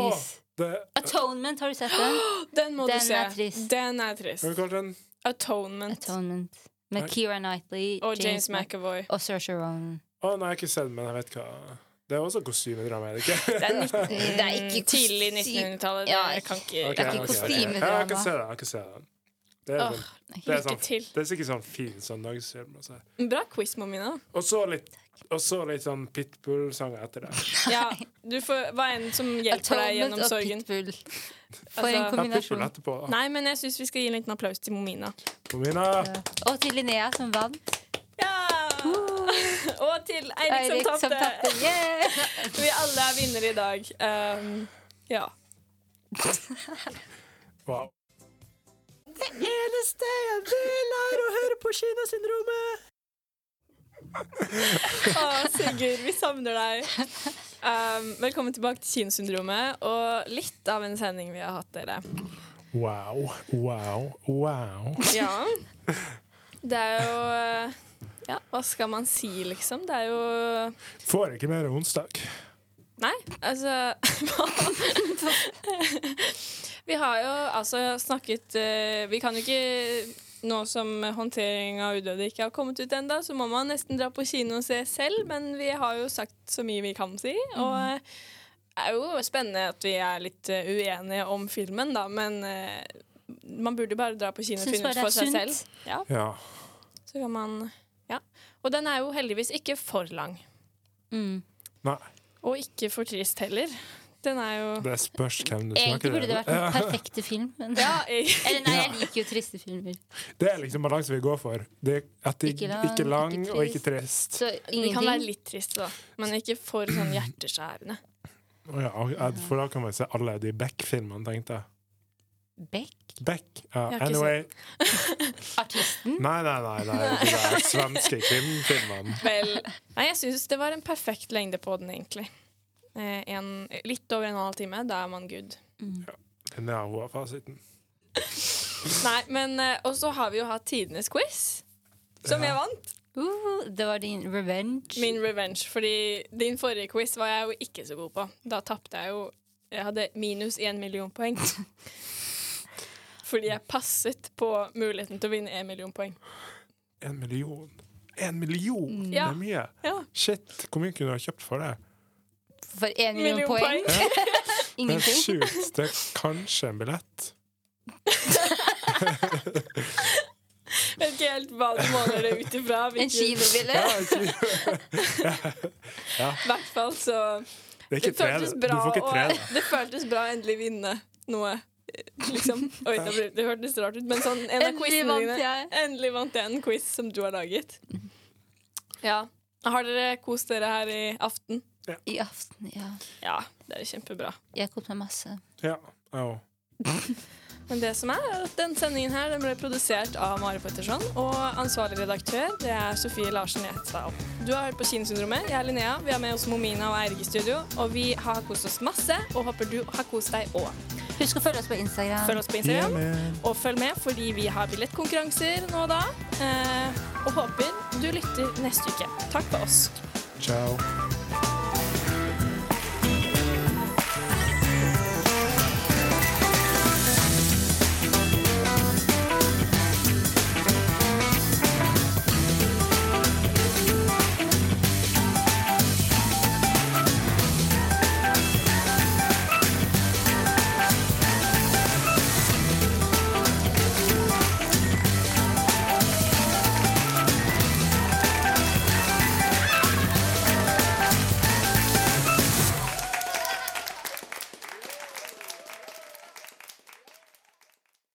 [SPEAKER 7] Åh, det,
[SPEAKER 3] Atonement, har du sett den?
[SPEAKER 6] Den må
[SPEAKER 3] Den
[SPEAKER 6] du se.
[SPEAKER 3] er trist.
[SPEAKER 6] Den er
[SPEAKER 7] hva vi
[SPEAKER 6] trist.
[SPEAKER 7] kaller den?
[SPEAKER 6] Atonement.
[SPEAKER 3] Atonement. Med
[SPEAKER 7] Nei.
[SPEAKER 3] Keira Knightley
[SPEAKER 6] Og James McAvoy.
[SPEAKER 3] og Saoirse Ronan.
[SPEAKER 7] Å, nei, jeg har ikke sett den, men jeg vet hva Det er også kostymedrama, er det ikke?
[SPEAKER 6] Det er nitten-
[SPEAKER 3] Det er ikke
[SPEAKER 6] Mm, tidlig
[SPEAKER 3] kosty-
[SPEAKER 6] 1900-tallet.
[SPEAKER 3] Ja,
[SPEAKER 6] det- Jeg kan ikke,
[SPEAKER 7] Ok,
[SPEAKER 6] jeg kan
[SPEAKER 7] ok, ok.
[SPEAKER 6] ikke kostyme.
[SPEAKER 7] Ja, Jeg har ikke sett den. Jeg har ikke sett den. Det er,
[SPEAKER 6] Åh,
[SPEAKER 7] sånn, det er,
[SPEAKER 6] lykke
[SPEAKER 7] sånn,
[SPEAKER 6] til.
[SPEAKER 7] det er sikkert sånn fin søndagsfilm. å se.
[SPEAKER 6] Bra quiz, Mamina.
[SPEAKER 7] Og så litt, og så litt sånn Pitbull-sanger etter det.
[SPEAKER 6] Ja, du får, hva enn som hjelper deg
[SPEAKER 3] Atonement
[SPEAKER 6] gjennom
[SPEAKER 3] og
[SPEAKER 6] sorgen.
[SPEAKER 3] Pitbull. For en
[SPEAKER 6] Altså-
[SPEAKER 7] Ja, Pitbull
[SPEAKER 3] kombinasjon.
[SPEAKER 7] etterpå.
[SPEAKER 6] Nei, men jeg syns vi skal gi en liten applaus til Momina.
[SPEAKER 7] Mina,
[SPEAKER 3] Og til Linnea, som vant.
[SPEAKER 6] Ja! Og til Eirik
[SPEAKER 3] Eirik
[SPEAKER 6] som
[SPEAKER 3] som
[SPEAKER 6] tapte.
[SPEAKER 3] tapte. Yeah!
[SPEAKER 6] Vi alle er vinnere i dag. Um, ja.
[SPEAKER 7] wow.
[SPEAKER 6] Å, Sigurd, vi savner deg. Um, velkommen tilbake til Kinosyndromet og litt av en sending vi har hatt, dere.
[SPEAKER 7] Wow, wow, wow.
[SPEAKER 6] Ja. Det er jo eh, Ja, hva skal man si, liksom? Det er jo
[SPEAKER 7] Får ikke mer onsdag.
[SPEAKER 6] Nei, altså Vi har jo altså snakket eh, Vi kan jo ikke nå som håndtering av udøde ikke har kommet ut ennå, så må man nesten dra på kino og se selv, men vi har jo sagt så mye vi kan si. Og
[SPEAKER 3] Mm.
[SPEAKER 6] eh, det er jo spennende at vi er litt eh, uenige om filmen, da, men eh, man burde bare dra på kino og
[SPEAKER 3] Syns
[SPEAKER 6] finne ut
[SPEAKER 3] bare
[SPEAKER 6] for
[SPEAKER 3] det er
[SPEAKER 6] seg selv.
[SPEAKER 3] sunt.
[SPEAKER 6] Ja,
[SPEAKER 7] Ja.
[SPEAKER 6] så kan man Ja. Og den er jo heldigvis ikke for lang.
[SPEAKER 3] Mm.
[SPEAKER 7] Nei,
[SPEAKER 6] Og ikke for trist heller. Den er jo
[SPEAKER 7] det spørs hvem du
[SPEAKER 3] Egentlig
[SPEAKER 7] snakker
[SPEAKER 3] burde det vært
[SPEAKER 7] Ja.
[SPEAKER 3] den perfekte film. Men...
[SPEAKER 6] Ja, jeg,
[SPEAKER 3] Eller nei, jeg liker jo triste filmer.
[SPEAKER 7] Det er liksom balansen vi går for. Det er at det
[SPEAKER 3] Ikke
[SPEAKER 7] ikke,
[SPEAKER 3] lang,
[SPEAKER 7] ikke lang
[SPEAKER 3] ikke
[SPEAKER 7] og ikke
[SPEAKER 3] trist.
[SPEAKER 7] trist.
[SPEAKER 3] Så
[SPEAKER 6] de kan være
[SPEAKER 3] ingenting.
[SPEAKER 6] litt triste, da. Men ikke for sånn hjerteskjærende.
[SPEAKER 7] Ja, og- ja, for da kan man se alle de Beck-filmene, tenkte jeg.
[SPEAKER 3] Beck?
[SPEAKER 7] Beck? Ja,
[SPEAKER 6] Jeg har ikke
[SPEAKER 7] anyway.
[SPEAKER 3] Artisten?
[SPEAKER 7] Nei, nei, nei. nei. De der svenske krimfilmene.
[SPEAKER 6] Vel, nei, jeg syns det var en perfekt lengde på den, egentlig. Eh, en, litt over en og en halv time, da er man good.
[SPEAKER 7] Ja, hun har fasiten.
[SPEAKER 6] Nei, men eh, Og så har vi jo hatt tidenes quiz, som jeg vant.
[SPEAKER 3] Uh, det var din revenge.
[SPEAKER 6] Min revenge. Fordi din forrige quiz var jeg jo ikke så god på. Da tapte jeg jo Jeg hadde minus én million poeng. Fordi jeg passet på muligheten til å vinne én million poeng.
[SPEAKER 7] En million. En million! Det
[SPEAKER 6] Ja.
[SPEAKER 7] er mye.
[SPEAKER 6] Mm. Ja.
[SPEAKER 7] Shit, hvor mye kunne du ha kjøpt for det?
[SPEAKER 3] For én million poeng.
[SPEAKER 7] Det er
[SPEAKER 3] Ingenting.
[SPEAKER 7] sjukt. Det er kanskje en billett.
[SPEAKER 6] Vet ikke helt hva du måler det ut ifra.
[SPEAKER 3] En
[SPEAKER 6] hvilken-
[SPEAKER 3] kinobille.
[SPEAKER 6] I hvert fall så
[SPEAKER 7] Det er
[SPEAKER 6] Det
[SPEAKER 7] ikke tre.
[SPEAKER 6] føltes
[SPEAKER 7] Du
[SPEAKER 6] bra
[SPEAKER 7] får ikke
[SPEAKER 6] å
[SPEAKER 7] tre.
[SPEAKER 6] det føltes bra å endelig vinne noe. Liksom. Oi, det ble- det hørtes rart ut, men sånn en av
[SPEAKER 3] Endelig
[SPEAKER 6] quizene
[SPEAKER 3] vant
[SPEAKER 6] dine
[SPEAKER 3] jeg. Mm.
[SPEAKER 6] Endelig vant jeg en quiz som du har laget. Ja. Har dere kost dere her i aften?
[SPEAKER 3] I aften, ja.
[SPEAKER 6] Ja, det er kjempebra.
[SPEAKER 3] Jeg koste meg masse.
[SPEAKER 7] Ja. au.
[SPEAKER 6] Men det som er, er at den sendingen her den ble produsert av Mari Petterson, og ansvarlig redaktør det er Sofie Larsen Jetstad. Du har hørt på Kinosyndromet. Jeg er Linnea. Vi har med oss Momina og Eirik i studio. Og vi har kost oss masse, og håper du har kost deg òg.
[SPEAKER 3] Husk å følge oss på Instagram.
[SPEAKER 6] Følg oss på Instagram, og følg med, fordi vi har billettkonkurranser nå og da. Eh, og håper du lytter neste uke. Takk for oss.
[SPEAKER 7] Ciao.